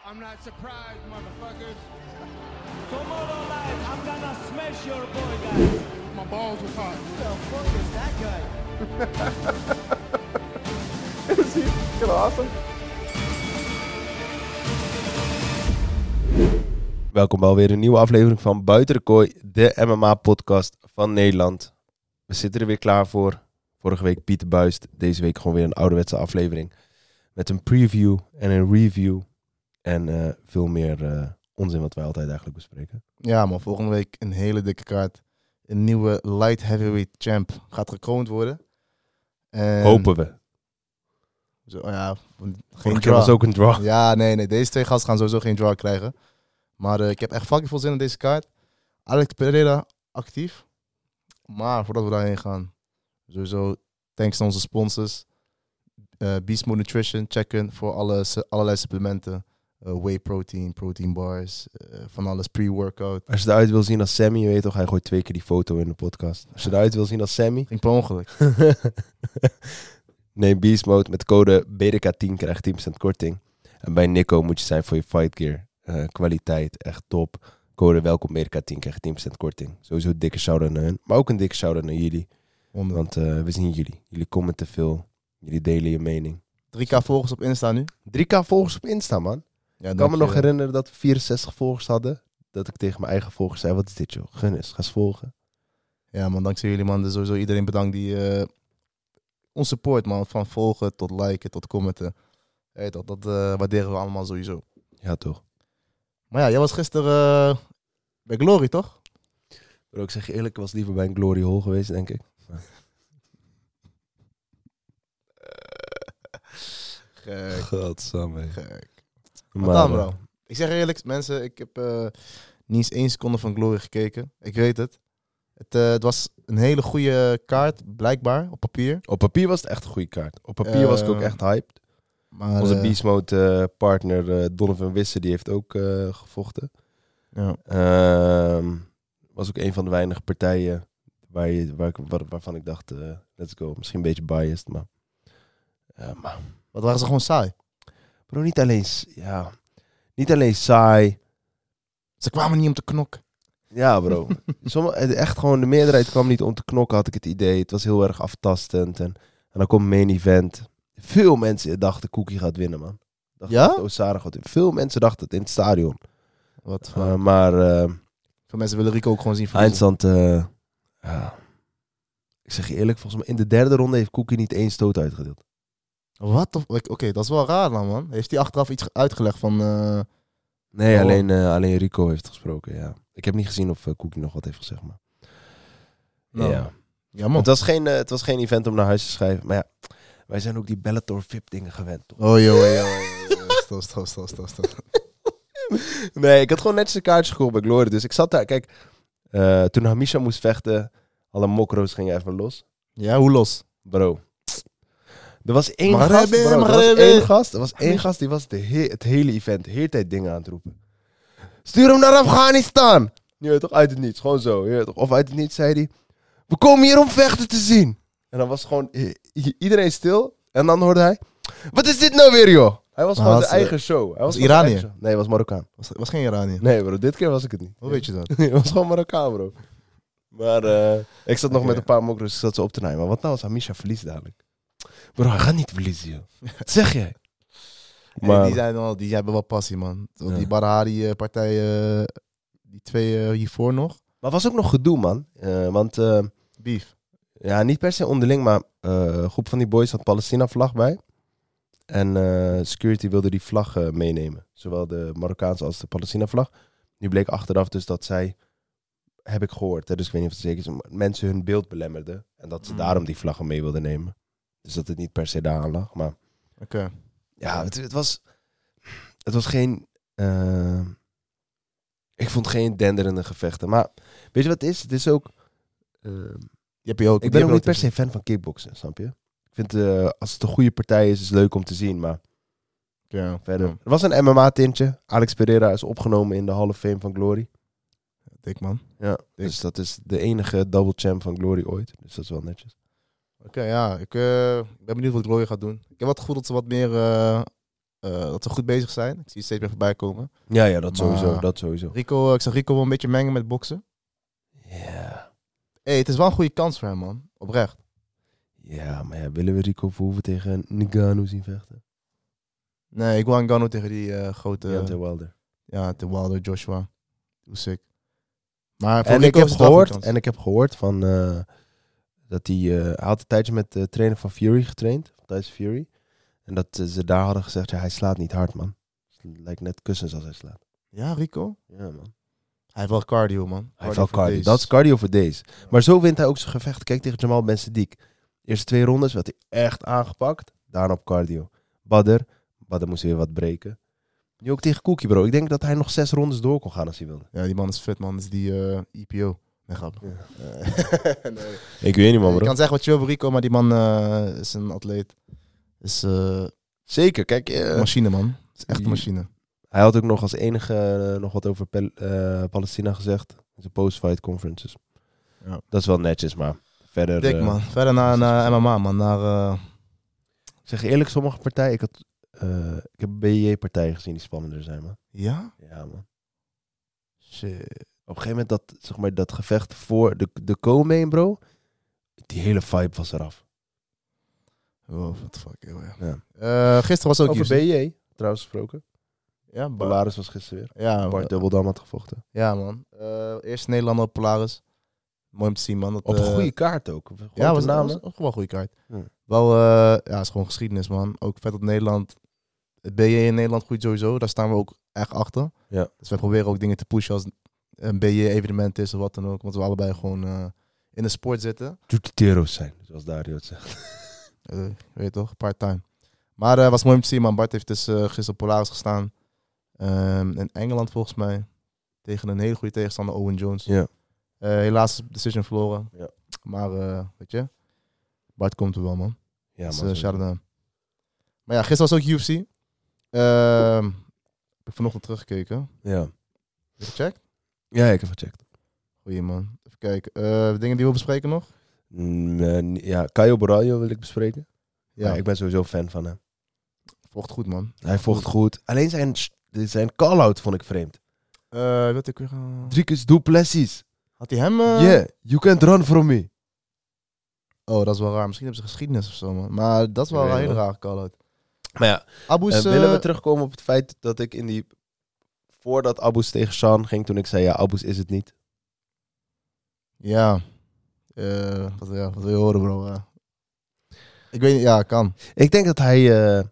I'm not surprised, motherfuckers. Tomorrow night, I'm gonna smash your boy, guys. My balls was hot. Who the fuck is that guy? Is he fucking awesome? Welkom bij alweer een nieuwe aflevering van Buiten de Kooi, de MMA-podcast van Nederland. We zitten er weer klaar voor. Vorige week Pieter Buist, deze week gewoon weer een ouderwetse aflevering. Met een preview en een review en eh, veel meer eh, onzin wat wij altijd eigenlijk bespreken. Ja, man, volgende week een hele dikke kaart. Een nieuwe light heavyweight champ gaat gekroond worden. En Hopen we. Zo, oh ja, want geen Vorige keer was draw. ook een draw. Ja, nee, nee. Deze twee gasten gaan sowieso geen draw krijgen. Maar eh, ik heb echt fucking veel zin in deze kaart. Alex Pereira actief. Maar voordat we daarheen gaan, sowieso thanks aan onze sponsors. Eh Beast Mode Nutrition, checken voor alle, su- allerlei supplementen. Eh, whey protein, protein bars, eh, van alles pre-workout. Als je eruit wil zien als Sammy, je weet toch, hij gooit twee keer die foto in de podcast. Als je eruit wil zien als Sammy, Ging per ongeluk. Neem Beast Mode met code BDK10 krijg je 10% korting. En bij Nico moet je zijn voor je fight gear. Eh, kwaliteit, echt top. Code welkom BDK10 krijg je 10% korting. Sowieso een dikke shout-out naar hun. Maar ook een dikke shout-out naar jullie. Onder. Want eh, we zien jullie. Jullie commenten veel. Jullie delen je mening. 3k volgers op Insta nu. 3k volgers op Insta, man. Ja, Ik kan me nog herinneren dat we 64 volgers hadden. Dat ik tegen mijn eigen volgers zei, wat is dit joh? Gun eens, ga eens volgen. Ja, man, dankzij jullie, man. Dus sowieso iedereen bedankt die eh, ons support, man. Van volgen tot liken tot commenten. Hey, dat dat eh, waarderen we allemaal sowieso. Ja, toch. Maar ja, jij was gisteren eh, bij Glory, toch? Bro, ik zeg je eerlijk, ik was liever bij een Glory Hall geweest, denk ik. Gek, Godsamme. gek. Wat Maar, dan, eh, bro? Ik zeg eerlijk, mensen, ik heb eh, niet eens één seconde van Glory gekeken. Ik weet het. Het, eh, het was een hele goede kaart, blijkbaar, op papier. Op papier was het echt een goede kaart. Op papier was ik ook Eh, echt hyped. Maar, Onze eh, Beast Mode eh, partner eh, Donovan Wisse die heeft ook eh, gevochten. Ja. Ehm, was ook een van de weinige partijen waar je, waar ik, waar- waarvan ik dacht, eh, let's go. Misschien een beetje biased, maar... eh, maar Wat waren ze gewoon saai? bro, niet alleen, s- ja, niet alleen saai. Ze kwamen niet om te knokken. Ja, bro. Sommige, het- echt gewoon, de meerderheid kwam niet om te knokken, had ik het idee. Het was heel erg aftastend. En, en dan komt main event. Veel mensen dachten Cookie gaat winnen, man. Dachten Ja? dat Osara gaat winnen. Veel mensen dachten het in het stadion. Wat voor... Uh, maar eh Veel mensen willen Rico ook gewoon zien verliezen. eindstand... eh, ja. Ik zeg je eerlijk, volgens mij in de derde ronde heeft Cookie niet één stoot uitgedeeld. Wat? de f- Oké, oké, dat is wel raar dan, man. Heeft hij achteraf iets ge- uitgelegd van... eh, Nee, Oh. alleen, eh, alleen Rico heeft gesproken, ja. Ik heb niet gezien of eh, Cookie nog wat heeft gezegd, maar... nou, Ja. Jammer. Het, was geen, eh, het was geen event om naar huis te schrijven, maar ja... Wij zijn ook die Bellator VIP dingen gewend, toch? Oh, joh, joh, joh, joh. Stop, stop, stop, stop, stop. Nee, ik had gewoon netjes een kaartje gekocht bij Glory. Dus ik zat daar, kijk, eh, toen Hamisha moest vechten, alle mokro's gingen even los. Ja, hoe los? Bro. Er was één Maghrebi, gast, bro, er was Maghrebi. één gast, er was één gast die was de he- het hele event, de hele tijd dingen aan het roepen. Stuur hem naar Afghanistan! Je weet toch, uit het niets, gewoon zo. Je weet toch, of uit het niets zei hij, we komen hier om vechten te zien. En dan was gewoon i- i- iedereen stil. En dan hoorde hij, wat is dit nou weer joh? Hij was Maar gewoon was, zijn eh, eigen show. Hij was was gewoon zijn Iraniër? eigen show. Nee, hij was Marokkaan. Was, was geen Iranië. Nee bro, dit keer was ik het niet. Hoe weet je dat? Het was gewoon Marokkaan, bro. Maar eh, ik zat nog Oké. met een paar mokro's, ik zat ze op te nemen. Maar wat nou als Hamisha verliest dadelijk? Bro, hij gaat niet verliezen, joh. Wat zeg jij? Hey, Maar die, zijn wel, die hebben wel passie, man. Zo, Ja. Die Barahari-partij, die twee eh, hiervoor nog. maar was ook nog gedoe, man. Eh, want, eh, Beef. ja, niet per se onderling, maar eh, een groep van die boys had Palestina-vlag bij. En eh, security wilde die vlag eh, meenemen. Zowel de Marokkaanse als de Palestina-vlag. Nu bleek achteraf dus dat zij, heb ik gehoord, hè, dus ik weet niet of het zeker is, maar mensen hun beeld belemmerden. En dat ze Mm. daarom die vlaggen mee wilden nemen. Dus dat het niet per se daaraan lag. Maar Oké. ja, het, het was, het was geen, eh, ik vond geen denderende gevechten. Maar weet je wat het is? Het is ook, eh, Die heb je ook. ik die ben ook heb niet je per se fan van kickboksen, snap je? Ik vind, eh, als het een goede partij is, is het leuk om te zien, maar Ja, verder. ja, Er was een MMA-tintje. Alex Pereira is opgenomen in de Hall of Fame van Glory. Dik, man. Oké, Ja, dus dat is de enige double champ van Glory ooit. Dus dat is wel netjes. ja. Ik eh, ben benieuwd wat Glory gaat doen. Ik heb wat goed dat ze wat meer eh, eh, dat we goed bezig zijn. Ik zie het steeds meer voorbij komen. Ja, ja, dat sowieso, Maar- dat sowieso. Rico, eh, ik zag Rico wel een beetje mengen met boksen. Ja, hey, het is wel een goede kans voor hem, man. Oprecht. ja maar ja, willen we Rico Verhoeven tegen Ngannou zien vechten? Nee, ik wil Ngannou tegen die eh, grote... Ja, tegen Wilder. Ja, de Wilder, Joshua. Usyk. Maar voor En ik Rico heb is het wel een gehoord, goede en ik heb gehoord van eh, dat hij, eh, hij had een tijdje met de trainer van Fury getraind, van Tyson Fury. En dat eh, ze daar hadden gezegd, ja, hij slaat niet hard, man. Dus Het lijkt net kussens als hij slaat. kans. Ja, Rico? Ja, man. Hij heeft wel cardio, man. Hij heeft wel voor cardio. days. Dat is cardio voor deze. Maar zo wint hij ook zijn gevecht. Kijk tegen Jamal Ben Sadiq. Eerste twee rondes werd hij echt aangepakt. Daarna op cardio. Badder. Badder moest weer wat breken. Nu ook tegen Cookie, bro. Ik denk dat hij nog zes rondes door kon gaan als hij wilde. Ja, die man is fit, man. Dat is die eh, EPO. Nee, grap. nee. Ik weet niet, man, Je bro. kan zeggen wat je wil over Rico, maar die man eh, is een atleet. Is eh Zeker, kijk. eh, machine, man. Is echt die- een machine. Hij had ook nog als enige eh, nog wat over Pel- eh, Palestina gezegd. In zijn post-fight conferences. Ja. Dat is wel netjes, maar verder... Dik, eh, man. Verder naar, naar MMA, man. Naar, eh, Ik zeg je eerlijk, sommige partijen... Ik, had, eh, ik heb BJ-partijen gezien die spannender zijn, man. ja? Ja, man. Shit. op een gegeven moment dat, zeg maar, dat gevecht voor de, de co-main, bro. Die hele vibe was eraf. Oh, what the fuck, joh, ja. Ja. Eh, gisteren was ook Over UFC. BJ, trouwens gesproken. Ja, Bar- Polaris was gisteren weer. Oh, ja, Bart Dubbeldam had gevochten. ja, man. Eh eerste Nederlander op Polaris. Mooi om te zien, man. Dat, Op een eh, goede kaart ook. Gewoon Ja, op was, de namen. was ook wel een goede kaart. Hmm. Wel, eh, ja, is gewoon geschiedenis, man. Ook vet dat Nederland. Het BJ in Nederland goed sowieso. Daar staan we ook echt achter. Ja. Dus wij proberen ook dingen te pushen als een BJ-evenement is of wat dan ook. Want we allebei gewoon eh, in de sport zitten. Jutiteros zijn, zoals Dario het zegt. Eh, weet je toch? Part-time. Maar eh was mooi om te zien, man. Bart heeft dus eh, gisteren op Polaris gestaan. Ehm, in Engeland volgens mij. Tegen een hele goede tegenstander, Owen Jones. Ja. Eh, helaas decision verloren. Ja. Maar eh, weet je, Bart komt er wel, man. Ja, Dus, man. eh, zo- shout-out aan hem. Maar ja, gisteren was ook UFC. Ehm, heb ik vanochtend teruggekeken. Heb ja. je gecheckt? ja, ik heb gecheckt. Goeie man. Even kijken. Eh, dingen die we bespreken nog? Mm, eh, ni- ja, Caio Borraio wil ik bespreken. Ja. Ja, ik ik ben sowieso fan van hem. vocht goed man. Hij vocht goed. Alleen zijn, zijn call-out vond ik vreemd. Eh weet ik weer, eh, Drie keer duplessis. Had hij hem... eh, Yeah, you can't run from me. Oh, dat is wel raar. Misschien hebben ze geschiedenis of zo man. Maar dat is wel Ik een weet hele het rare call-out. Maar ja, Abu's... Eh, willen eh, we terugkomen op het feit dat ik in die... Voordat Abus tegen Sean ging, toen ik zei, ja, Abus is het niet. ja. Eh, wat, ja. Wat wil je horen bro? Eh, ik weet niet, ja, kan. Ik denk dat hij... eh,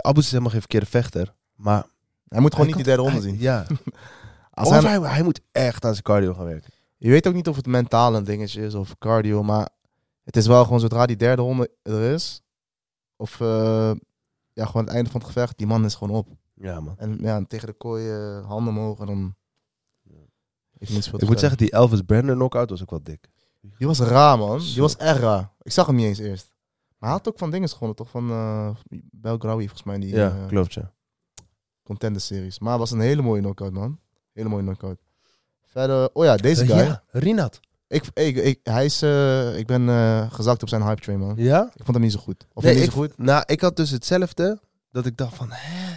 Abus is helemaal geen verkeerde vechter, maar... Hij moet gewoon hij niet kan- die derde ronde hij- zien. Ja. Als of hij, hij, hij moet echt aan zijn cardio gaan werken. Je weet ook niet of het mentaal een dingetje is of cardio, maar het is wel gewoon zodra die derde ronde er is, of eh, ja, gewoon het einde van het gevecht, die man is gewoon op. Ja, man. En ja, tegen de kooi eh, handen omhoog en dan... Ik, niet Ik moet zeggen, die Elvis Brenner knockout was ook wel dik. die was raar man, Zo. die was echt raar. Ik zag hem niet eens eerst. Maar hij had ook van dingen gewonnen, toch? Van eh Belgrawi volgens mij, die Ja, eh, klopt, ja. contender series. Maar het was een hele mooie knockout man, hele mooie knockout. Verder, oh ja, deze guy. Eh, Ja, Rinat. Ik, ik, ik, hij is, eh, ik ben eh, gezakt op zijn hype train man. Ja? Ik vond hem niet zo goed. Of Nee, niet ik, zo goed. Nou, ik had dus hetzelfde, dat ik dacht van, hè?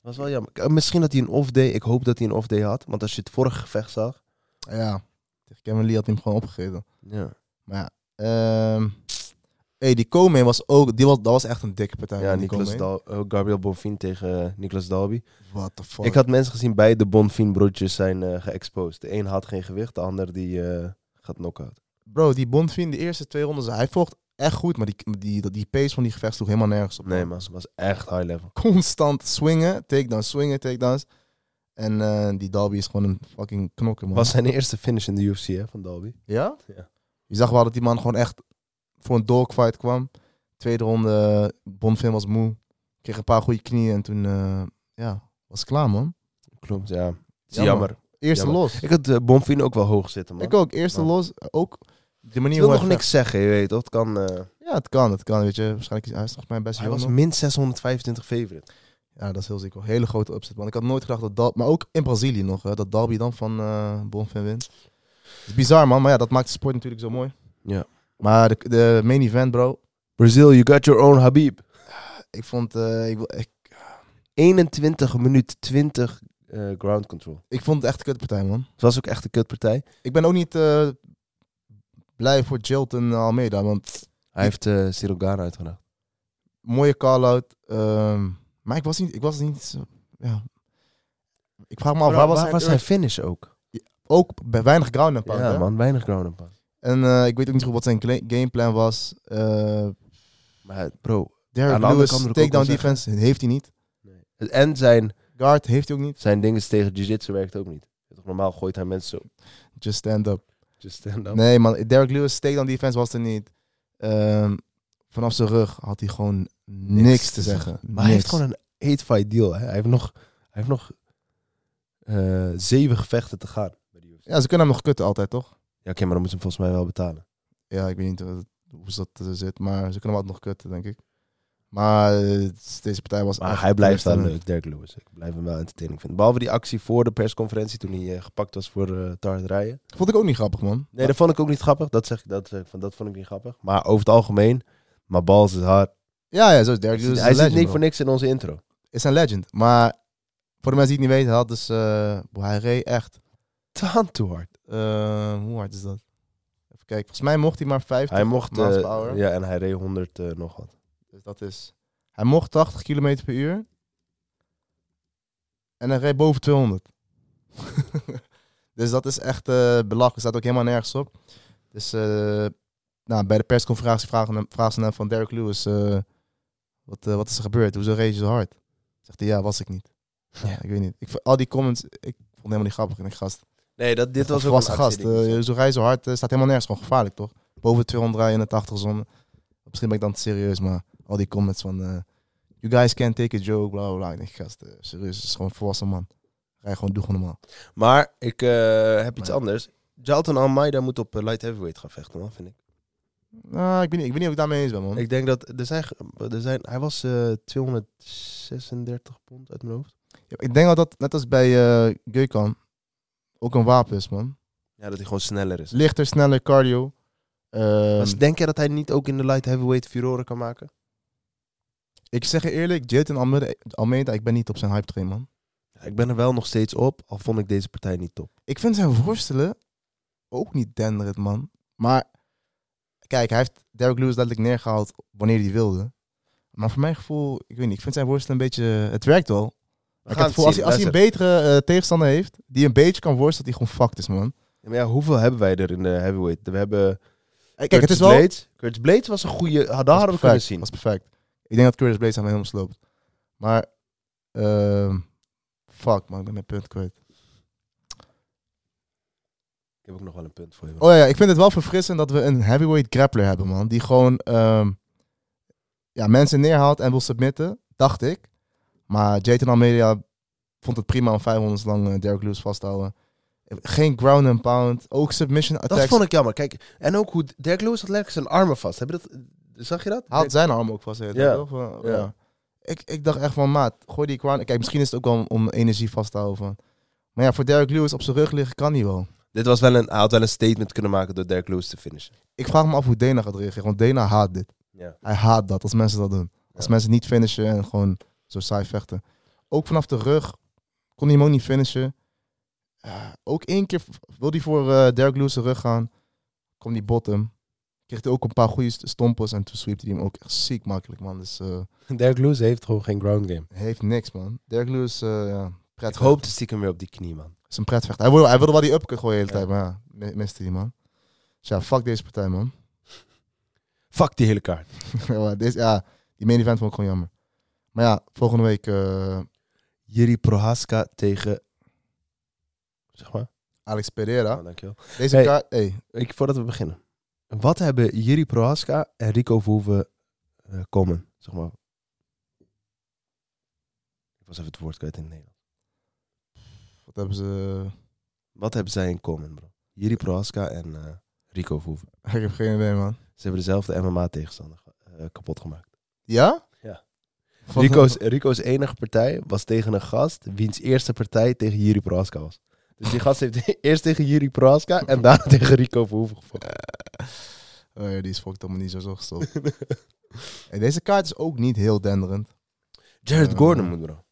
Was wel jammer. K- Misschien dat hij een off-day, ik hoop dat hij een off-day had. Want als je het vorige gevecht zag... Ja. Tegen Kevin Lee had hij hem gewoon opgegeten. Ja. Maar ja. ehm, hey, die Komen was ook... Die was, dat was echt een dikke partij. Ja, man, die Nicolas Komen. Dal eh, Gabriel Bonfin tegen eh, Nicolas Dalby. What the fuck. Ik had mensen gezien, beide Bonfin-broertjes zijn eh, geëxposed. De een had geen gewicht, de ander die eh, gaat knock-out. Bro, die Bonfin, de eerste twee rondes, hij vocht echt goed. Maar die, die, die, die pace van die gevecht sloeg helemaal nergens op. Nee, man, ze was echt high level. Constant swingen, takedowns, swingen, takedowns. En eh, die Dalby is gewoon een fucking knokker, man. Was zijn eerste finish in de UFC, hè, van Dalby. Ja? Ja. Je zag wel dat die man gewoon echt voor een dogfight kwam. Tweede ronde, eh, Bonfim was moe. Kreeg een paar goede knieën en toen eh, ja, was het klaar, man. Klopt, ja. Het is Jammer. jammer. Eerste Jammer. los. Ik, Ik had eh, Bonfin ook wel hoog zitten, man. Ik ook, eerste Ja. los. Ook de manier wil hoe hij nog vecht. niks zeggen, je weet toch? Het kan, eh, Ja, het kan, het kan, weet je. Waarschijnlijk is hij is nog mijn beste Dus hij jongen. was min 625 favorite. Ja, dat is heel ziek. wel. Hele grote upset, man. Ik had nooit gedacht dat Dal... Maar ook in Brazilië nog, hè, dat Dalby dan van eh Bonfim wint. Het is bizar, man. Maar ja, dat maakt de sport natuurlijk zo mooi. Ja. Maar de, de main event, bro. Brazil, you got your own Habib. Ik vond, eh, ik, wil- ik, 21 minuut 20 eh, ground control. Ik vond het echt een kutpartij, man. Het was ook echt een kutpartij. Ik ben ook niet eh, blij voor Jilton Almeida, want Hij heeft eh Cyril Gane uitgedaagd. mooie call-out. ehm, maar ik was niet... Ik was niet zo- ja. Ik vraag me Oh, af, waar was, hij? zijn finish ook? Ook bij weinig ground and pound, Ja hè? man, weinig ground and pound. En eh, ik weet ook niet goed wat zijn kle- gameplan was. Eh Maar bro, Derek Aan de andere Lewis, kant moet ik ook takedown wel defense, heeft hij niet. en zijn, Guard heeft hij ook niet. zijn dingen tegen jiu-jitsu werkt ook niet. Normaal gooit hij mensen zo. Just stand up. Just stand up. Nee, man. Derek Lewis, takedown defense was er niet. Ehm, vanaf zijn rug had hij gewoon niks, te zeggen. Maar hij heeft Niks. gewoon een 8-fight deal. Hè? Hij heeft nog, hij heeft nog eh, zeven gevechten te gaan. bij de UFC. Ja, Ja, ze kunnen hem nog kutten altijd, toch? oké, maar dan moet ze hem volgens mij wel betalen. Ja, ik weet niet hoe hoe dat eh, zit, maar ze kunnen hem altijd nog kutten, denk ik. Maar eh, deze partij was Maar echt hij blijft wel teleurstellend. leuk, Dirk Lewis. Ik blijf hem wel entertaining vinden. Behalve die actie voor de persconferentie toen hij eh, gepakt was voor eh te hard rijden. Vond ik ook niet grappig, man. Nee, dat vond ik ook niet grappig. Dat zeg ik, dat, zeg ik van, dat vond ik niet grappig. Maar over het algemeen, maar Balls is hard. Ja, ja, zo is Derek Lewis. is hij een zit legend, niet bro. voor niks in onze intro. Is een legend. Maar voor de mensen die het niet weten, hij had dus... eh, hij reed echt... Taan te hard. eh, hoe hard is dat? Even kijken. Volgens mij mocht hij maar 50 Hij mocht, miles eh, per hour. ja, en hij reed 100 eh, nog wat. Dus dat is. Hij mocht 80 km per uur. En hij reed boven 200. dus dat is echt eh belachelijk. Staat ook helemaal nergens op. Dus eh, nou, bij de persconferentie vragen, hem- vragen ze hem van Derek Lewis: eh, wat, eh, wat is er gebeurd? Hoezo reed je zo hard? Zegt hij: Ja, was ik niet. Ja, ik weet niet. Ik, vond- al die comments, ik vond het helemaal niet grappig. En ik gast. Nee, dat, dit Dat was was ook een dus- volwassen actie gast. die ik niet Eh, zo rij zo hard eh, staat helemaal nergens. Gewoon gevaarlijk, toch? Boven 200 rijden in de 80 zon. Misschien ben ik dan te serieus, maar al die comments van... eh, you guys can't take a joke, bla bla bla. Ik denk, gast, eh, serieus, het is gewoon een volwassen man. Rij gewoon, doe gewoon normaal. Maar ik eh, heb iets Maar- anders. Jalton Almeida moet op eh, light heavyweight gaan vechten, man, vind ik. Nou, ik, weet niet, ik weet niet of ik daarmee eens ben, man. Ik denk dat er zijn, ge- er zijn hij was eh, 236 pond uit mijn hoofd. Ja, ik denk dat dat, net als bij eh Geukan, ook een wapen is, man. Ja, dat hij gewoon sneller is. Lichter, sneller, cardio. Ehm, Dus denk je dat hij niet ook in de light heavyweight furoren kan maken? ik zeg je eerlijk, Jaden Almeida, Almeida, ik ben niet op zijn hype train, man. Ja, ik ben er wel nog steeds op, al vond ik deze partij niet top. Ik vind zijn worstelen ook niet denderend, man. Maar kijk, hij heeft Derek Lewis duidelijk neergehaald wanneer hij wilde. Maar voor mijn gevoel, ik weet niet, ik vind zijn worstelen een beetje... Het werkt wel. Maar ik heb het gevoel, als, hij, als hij een betere eh, tegenstander heeft, die een beetje kan worstelen, dat hij gewoon fucked is, man. Ja, maar ja, hoeveel hebben wij er in de heavyweight? We hebben Kijk, Curtis het is wel... Blades. Curtis Blades was een goede, hadden hadden we kunnen zien. was perfect. Ik denk dat Curtis Blades hem helemaal sloopt. Maar, ehm, fuck man, ik ben mijn punt kwijt. Ik heb ook nog wel een punt voor je. Oh ja, ja, ik vind het wel verfrissend dat we een heavyweight grappler hebben, man. Die gewoon ehm, ja, mensen neerhaalt en wil submitten, dacht ik. Maar Jayton Almeida vond het prima om 500 lang eh, Derek Lewis vast te houden. Geen ground and pound, ook submission dat attacks. vond ik jammer. Kijk, en ook hoe Dirk Lewis had lekker zijn armen vast. Heb je dat, zag je dat? Hij had zijn arm ook vast. de hele Ja. tijd, toch? Van, Ja. ja. Ik, ik dacht echt van, maat, gooi die crown. Kijk, misschien is het ook wel om, om energie vast te houden. van. Maar ja, voor Derek Lewis op zijn rug liggen kan hij wel. Dit was wel een, hij had wel een statement kunnen maken door Dirk Lewis te finishen. Ik vraag me af hoe Dana gaat reageren, want Dana haat dit. Ja. Hij haat dat als mensen dat doen. Als Ja. mensen niet finishen en gewoon zo saai vechten. Ook vanaf de rug kon hij hem ook niet finishen. Eh, ook één keer v- wil hij voor eh Derek Lewis zijn rug gaan. Kom die bottom. Kreeg hij ook een paar goede st- stompels en toen sweepte hij hem ook echt ziek makkelijk, man. Dus eh, Dirk Lewis heeft gewoon geen ground game. hij heeft niks, man. Derek Lewis, eh ja, Ik prettig. hoopte stiekem weer op die knie, man. is een pretvecht. Hij wilde, hij wilde wel die upcut gooien de hele Ja. tijd, maar ja, mi- miste die, man. Dus ja, fuck deze partij, man. Fuck die hele kaart. ja, maar deze- ja, die main event vond ik gewoon jammer. Maar ja, volgende week eh, Jiri Prohaska tegen... Zeg maar. Alex Pereira. Oh, dankjewel. Deze Hey. kaart, hey, Ik, voordat we beginnen. Wat hebben Jiri Prohaska en Rico Verhoeven eh komen? Zeg maar. Ik was even het woord kwijt in het Nederlands. wat hebben ze? Wat hebben zij in common, bro? Jiri Prohaska en eh, Rico Verhoeven. Ik heb geen idee, man. Ze hebben dezelfde MMA-tegenstander eh, kapot gemaakt. Ja? Ja. Wat- Rico's, Rico's enige partij was tegen een gast wiens eerste partij tegen Jiri Prohaska was. Dus die gast heeft eerst tegen Jiri Prohaska en daarna tegen Rico Verhoeven gevochten. Oh ja, die is fucked allemaal niet zo zo gestopt. en deze kaart is ook niet heel denderend. Jared Eh, Ah. Gordon moet, bro.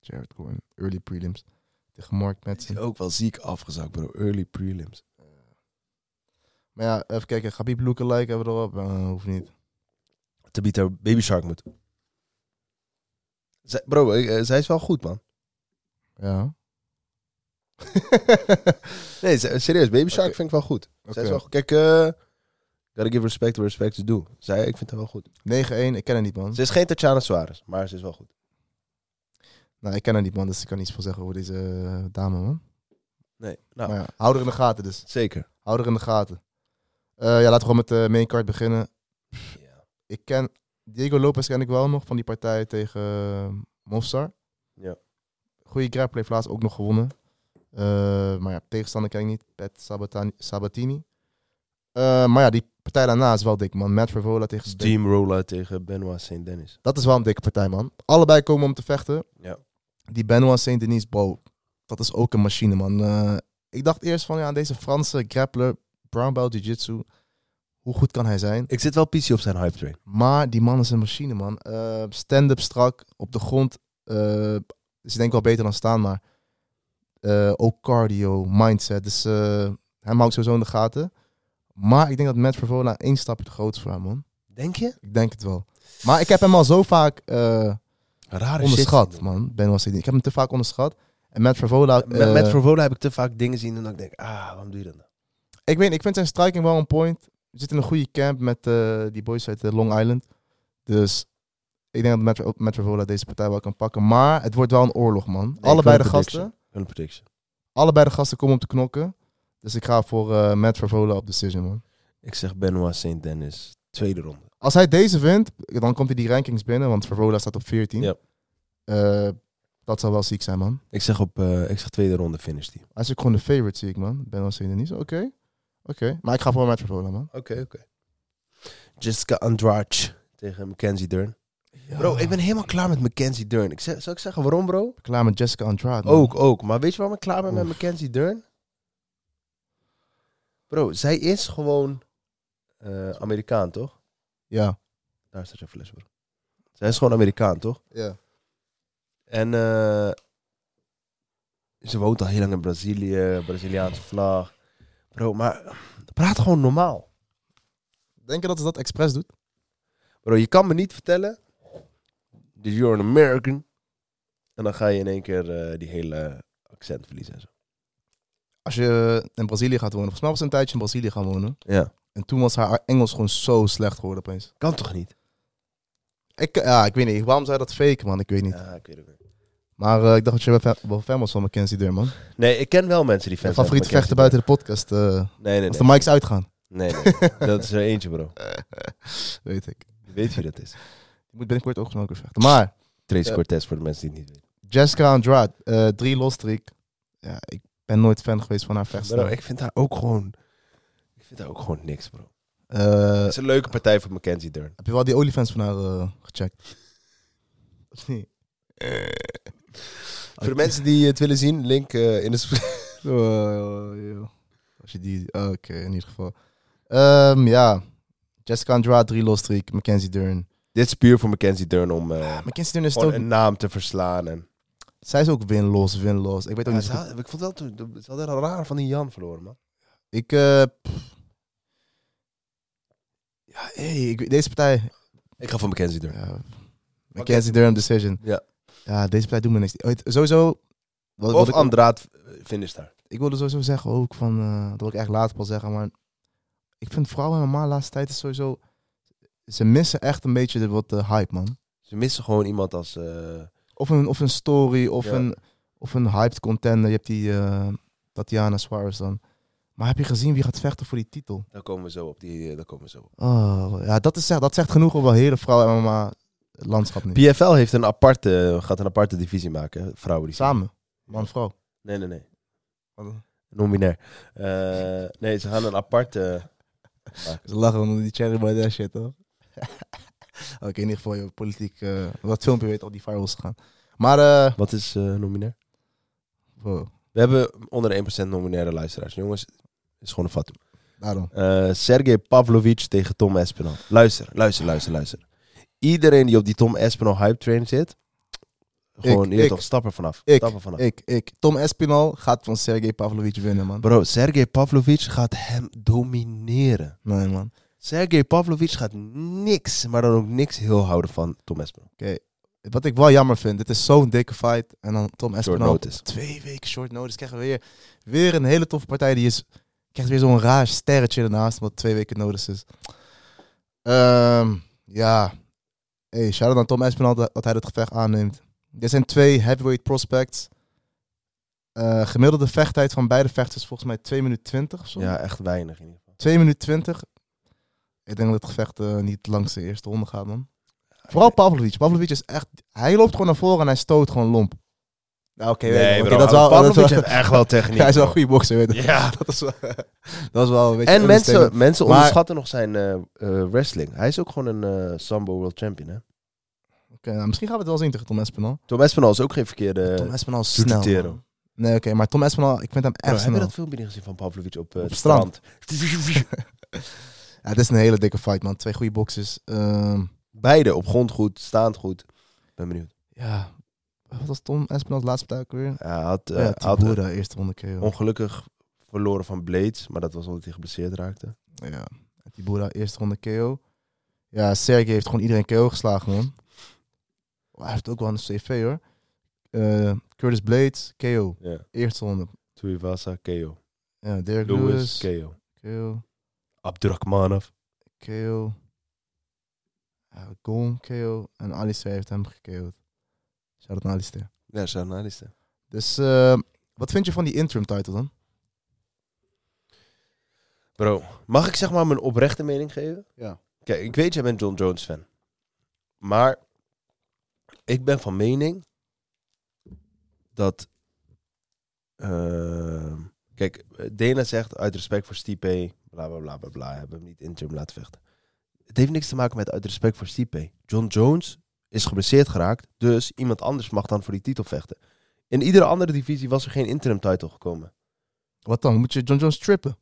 Jared Gordon, early prelims. Tegen Mark Madsen. Is ook wel ziek afgezakt, bro. Early prelims. Maar ja, even kijken. Gabib Loeken like hebben we erop. Eh, hoeft niet. Tabitha Baby Shark moet. Zij- bro, ik, eh, zij is wel goed, man. Ja. Nee, ze- serieus. Baby Shark Oké. vind ik wel goed. Zij is Oké. wel goed. Kijk, eh gotta give respect where respect is due. Zij, ik vind haar wel goed. 9-1, ik ken het niet, man. Ze is geen Tatjana Suarez, maar ze is wel goed. Nou, ik ken het niet, man. Dus ik kan niets van zeggen over deze eh, dame, man. Nee, nou, Maar ja, hou er in de gaten, dus. zeker. Hou er in de gaten. Eh, ja, laten we gewoon met de main card beginnen. Ja. Ik ken... Diego Lopez ken ik wel nog van die partij tegen eh, Mofsar. Ja. Goeie grapple heeft laatst ook nog gewonnen. Eh, maar ja, tegenstander ken ik niet. Pat Sabatani, Sabatini. Eh, maar ja, die partij daarna is wel dik, man. Matt Favola tegen... Steam. Steamroller tegen Benoit St. Dennis. Dat is wel een dikke partij, man. Allebei komen om te vechten. Ja. Die Benoit Saint-Denis, bro, dat is ook een machine, man. Eh, ik dacht eerst van, ja, deze Franse grappler, brown belt jiu-jitsu, hoe goed kan hij zijn? Ik zit wel PC op zijn hype train. Maar die man is een machine, man. Eh, Stand-up strak, op de grond. eh, is denk ik wel beter dan staan, maar eh, ook cardio, mindset. Dus eh, hij houdt sowieso in de gaten. Maar ik denk dat Matt Favola één stapje te groot is voor hem, man. Denk je? Ik denk het wel. Maar ik heb hem al zo vaak... eh, Rare onderschat, shit. man. Ben was ik heb hem te vaak onderschat. En met Vervola. Met, eh, met Verwola heb ik te vaak dingen zien en dan denk ik, ah, waarom doe je dat nou? ik weet, niet, ik vind zijn striking wel een point. We zitten in een goede camp met eh, die boys uit eh, Long Island. Dus ik denk dat met, met Vervola deze partij wel kan pakken. Maar het wordt wel een oorlog, man. wil allebei een de prediction. gasten. Een prediction. Allebei de gasten komen om te knokken. Dus ik ga voor eh Matt Vervola op decision, man. Ik zeg Benoit St. Dennis. Tweede ronde. Als hij deze wint, dan komt hij die rankings binnen. Want Vervola staat op 14. Ja. Eh, dat zal wel ziek zijn, man. Ik zeg, op, eh, ik zeg tweede ronde finish die. Hij is ook gewoon de favorite, zie ik, man. Ben was er niet. Oké. Oké. Maar ik ga voor Matt Vervola, man. Oké, oké. Jessica Andrade tegen Mackenzie Dern. Bro, ik ben helemaal klaar met Mackenzie Dern. Ik zeg, zal ik zeggen waarom, bro? klaar met Jessica Andrade. man. Ook, ook. Maar weet je waarom ik klaar ben met Oef. Mackenzie Dern? Bro, zij is gewoon eh, Amerikaan, toch? Ja. Daar staat je fles, bro. Zij is gewoon Amerikaan, toch? ja. En eh, ze woont al heel lang in Brazilië, Braziliaanse vlag. Bro, maar praat gewoon normaal. Denk je dat ze dat expres doet? Bro, je kan me niet vertellen dat you're an American. En dan ga je in één keer eh, die hele accent verliezen en zo. Als je in Brazilië gaat wonen. Volgens mij was ze een tijdje in Brazilië gaan wonen. Ja. En toen was haar Engels gewoon zo slecht geworden opeens. Kan toch niet? Ik, ja, ik weet niet. Waarom zou je dat faken, man? Ik weet niet. Ja, ik weet het niet. Maar eh, ik dacht dat je wel fan- wel fan was van Mackenzie Deur, man. Nee, ik ken wel mensen die Mijn fans favoriete zijn vechten van buiten de podcast. eh, Mackenzie. Nee, nee, Als nee. de mics uitgaan. nee, nee. Dat is er eentje, bro. weet ik. Je weet wie dat is. Je moet binnenkort ook gewoon weer vechten. Maar Trace Ja. Cortez voor de mensen die het niet weten. Jessica Andrade. eh drie los streak. Ja, ik ben nooit fan geweest van haar Bro, vechten. ik vind haar ook gewoon... Ik vind haar ook gewoon niks, bro. Eh, Het is een leuke partij voor Mackenzie Dern. Heb je wel die OnlyFans van haar eh, gecheckt? Of niet? Eh, Voor de mensen die het willen zien, link eh, in de... sp- Oh, Als je die... oh, Oké, in ieder geval. Ehm, ja. Jessica Andrade, drie los streak. Mackenzie Dern. Dit is puur voor Mackenzie Dern om eh, Mackenzie Dern is gewoon ook... een naam te verslaan en... Zij is ook win-loss, win-loss. Ik weet ook Ja, niet... ze zo goed- had- ik vond wel toen, ze hadden een raar van die Jan verloren, man. Ik... eh, pff. ja, hey, ik, weet- deze partij... Ik ga van Mackenzie door. Ja, Mackenzie Dern decision. Ja. Ja, deze partij doet me niks. Ooit- Sowieso... Wat, wat Of ik- Andraat finish daar. ik wilde sowieso zeggen ook van, eh, dat wil ik echt later pas zeggen, maar ik vind vrouwen en de laatste tijd is sowieso, ze missen echt een beetje de, wat de hype, man. Ze missen gewoon iemand als... eh, Of een, of een story, of, Ja. een, of een hyped contender. Je hebt die eh, Tatiana Suarez dan. Maar heb je gezien wie gaat vechten voor die titel? daar komen we zo op. Die, eh, daar komen we zo op. Oh, ja, dat, is, echt- dat zegt genoeg over hele vrouwen MMA landschap nu. PFL heeft een aparte, gaat een aparte divisie maken. hè, Vrouwen die Samen, man-vrouw. Nee, nee, nee. Non-binair. Eh, nee, ze gaan een aparte... Ze lachen onder die Cherry Baudet shit, hoor. Oké, in ieder geval, je politiek... eh, dat filmpje weet al die virals gaan. Maar, eh Wat is eh non-binair? wow, We hebben onder de 1% non-binaire luisteraars. Jongens, het is gewoon een vat. daarom. Eh, Sergej Pavlovic tegen Tom Espinal. Luister, luister, luister, luister. Iedereen die op die Tom Espinal hype train zit, Gewoon, je ik- toch, stap er vanaf. ik- Stap er vanaf. Ik, ik. Tom Espinal gaat van Sergej Pavlovic winnen, man. Bro, Sergej Pavlovic gaat hem domineren. Nee, man. Sergej Pavlovic gaat niks, maar dan ook niks heel houden van Tom Espinal. Wat ik wel jammer vind, dit is zo'n dikke fight. En dan Tom Espinal. notice. Twee weken short notice. Krijgen we weer, weer een hele toffe partij. Die is, krijgt weer zo'n raar sterretje ernaast. Wat twee weken notice is. Ehm, ja. Hey, shout-out aan Tom Espinal dat, dat hij dit gevecht aanneemt. Dit zijn twee heavyweight prospects. Eh, gemiddelde vechttijd van beide vechters is volgens mij 2 minuten 20 of zo. Ja, echt weinig in ieder geval. 2 minuten 20. Ik denk dat het gevecht eh, niet langs de eerste ronde gaat, man. Vooral Pavlovic. Pavlovic is echt... Hij loopt gewoon naar voren en hij stoot gewoon lomp. Nou, oké. weet je, Nee, oké, bro, dat is wel... Pavlovic dat is wel- heeft echt wel techniek. hij is wel een bro. goede bokser, weet je. Ja. Dat is wel... dat is wel een beetje En understatement. mensen, mensen Maar- onderschatten nog zijn eh, eh, wrestling. Hij is ook gewoon een eh, Sambo World Champion, hè? Oké, nou, misschien gaan we het wel zien tegen Tom Espinal. Tom Espinal is ook geen verkeerde... Tom Espinal is doet snel. het tero. man. Nee, oké. maar Tom Espinal, ik vind hem Bro, echt heb je snel. dat filmpje niet gezien van Pavlovic op, eh, Op het strand. strand? Ja, dit is een hele dikke fight, man. Twee goede boxers. Ehm, Beide op grond goed, staand goed. Ben benieuwd. ja. Wat was Tom Espinal's laatste partij ook weer? Hij had, eh, ja, had eh, Tibura, eerste ronde keer. ongelukkig verloren van Blades, maar dat was omdat hij geblesseerd raakte. Ja, Tibura, eerste ronde KO. Ja, Sergey heeft gewoon iedereen KO geslagen, man. Oh, hij heeft ook wel een CV, hoor. Eh, Curtis Blades, KO. Ja. Eerste ronde. Tuivasa, KO. Ja, Derek Lewis, Lewis, KO. KO. Abdurakhmanov. KO. Ja, Gon, KO. En Alistair heeft hem geko'd. Shout-out naar Alistair. Ja, journalisten. Dus, eh, wat vind je van die interim title dan? Bro, mag ik zeg maar mijn oprechte mening geven? Ja. Kijk, ik weet, jij bent John Jones fan. Maar ik ben van mening dat... ehm, kijk, Dana zegt uit respect voor Stipe, bla bla bla bla bla, hebben we hem niet interim laten vechten. Het heeft niks te maken met uit respect voor Stipe. John Jones is geblesseerd geraakt, dus iemand anders mag dan voor die titel vechten. In iedere andere divisie was er geen interim title gekomen. Wat dan? Moet je John Jones trippen?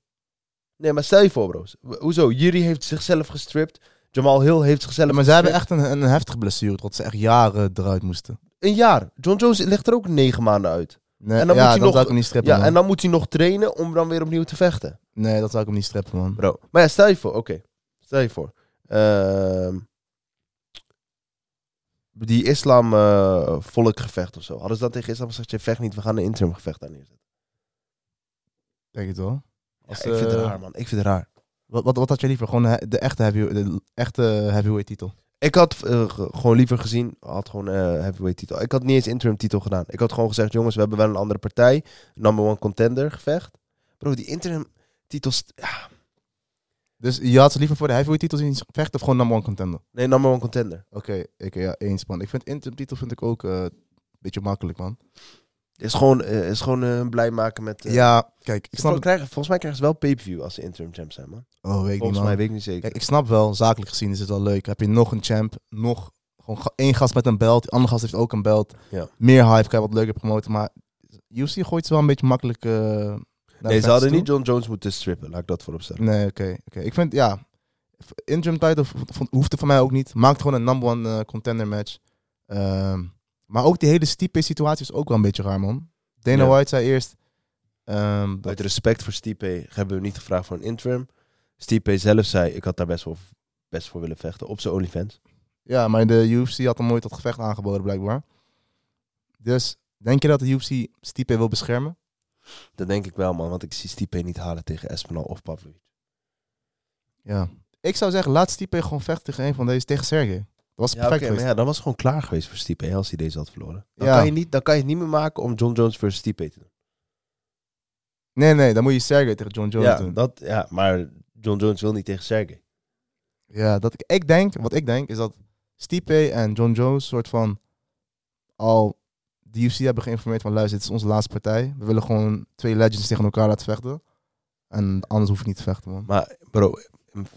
Nee, maar stel je voor, bro's. W- Hoezo? Jiri heeft zichzelf gestript. Jamal Hill heeft zichzelf maar zij hebben gestript. echt een, een heftige blessure, dat ze echt jaren eruit moesten. Een jaar. John Jones ligt er ook negen maanden uit. Nee, En dan ja, moet je dat nog- zou ik hem niet strippen, ja, man. en dan moet hij nog trainen om dan weer opnieuw te vechten. Nee, dat zou ik hem niet strippen, man. Bro. Maar ja, stel je voor. Oké. Stel je voor. Ehm, die islam eh, volkgevecht of zo. Hadden ze dat tegen islam gezegd? Je vecht niet, we gaan een interim gevecht aan neerzetten. Denk het wel. Ja, Als, ik vind het eh, raar, man. Ik vind het raar. Wat, wat, wat had je liever? Gewoon eh, de, de echte, heavy, de echte heavyweight titel. Ik had eh, ge- gewoon liever gezien, had gewoon eh heavyweight titel. Ik had niet eens interim titel gedaan. Ik had gewoon gezegd, jongens, we hebben wel een andere partij. Number one contender gevecht. Bro, die interim titels... ja, Dus je had ze liever voor de heavyweight titel zien vechten of gewoon number one contender? nee, number one contender. Oké, ik ja, eens man. Ik vind interim titel vind ik ook eh, een beetje makkelijk man. Is gewoon, eh, is gewoon eh, blij maken met... eh, Ja, kijk, ik ze snap vol- het. krijgen, volgens mij krijgen ze wel pay-per-view als ze interim champ zijn, man. Oh, weet ik niet Volgens man. mij, weet ik niet zeker. Kijk, ik snap wel, zakelijk gezien is het wel leuk. Heb je nog een champ, nog gewoon ga- één gast met een belt, die andere gast heeft ook een belt. Ja. Meer hype, kan je wat leuker promoten, maar UFC gooit ze wel een beetje makkelijk eh, naar de nee, ze fans hadden toe. niet John Jones moeten strippen. Laat ik dat vooropstellen. Nee, oké. oké. Ik vind, ja, interim title v- v- hoefde voor mij ook niet. Maakt gewoon een number one eh, contender match. Ehm, maar ook die hele stipe situatie is ook wel een beetje raar, man. Dana Ja. White zei eerst... ehm, dat- Uit respect voor Stipe hebben we niet gevraagd voor een interim. Stipe zelf zei, ik had daar best wel best voor willen vechten. Op zijn OnlyFans. ja, maar de UFC had hem nooit dat gevecht aangeboden, blijkbaar. Dus, denk je dat de UFC stipe wil beschermen? Dat denk ik wel, man. Want ik zie Stipe niet halen tegen Espinal of Pavlovic. Ja. Ik zou zeggen, laat stipe gewoon vechten tegen een van deze, tegen Sergey. Dat was Ja, oké, perfect geweest. maar ja, dan was het gewoon klaar geweest voor Stipe hè, als hij deze had verloren. Dan, Ja. kan je niet, dan kan je het niet meer maken om John Jones versus Stipe te doen. Nee, nee, dan moet je Sergey tegen John Jones ja, doen. Dat, ja, maar John Jones wil niet tegen Sergey. Ja, dat ik, ik denk, wat ik denk, is dat Stipe en John Jones soort van al de UFC hebben geïnformeerd van luister, dit is onze laatste partij. We willen gewoon twee legends tegen elkaar laten vechten. En anders hoef je niet te vechten, man. Maar bro,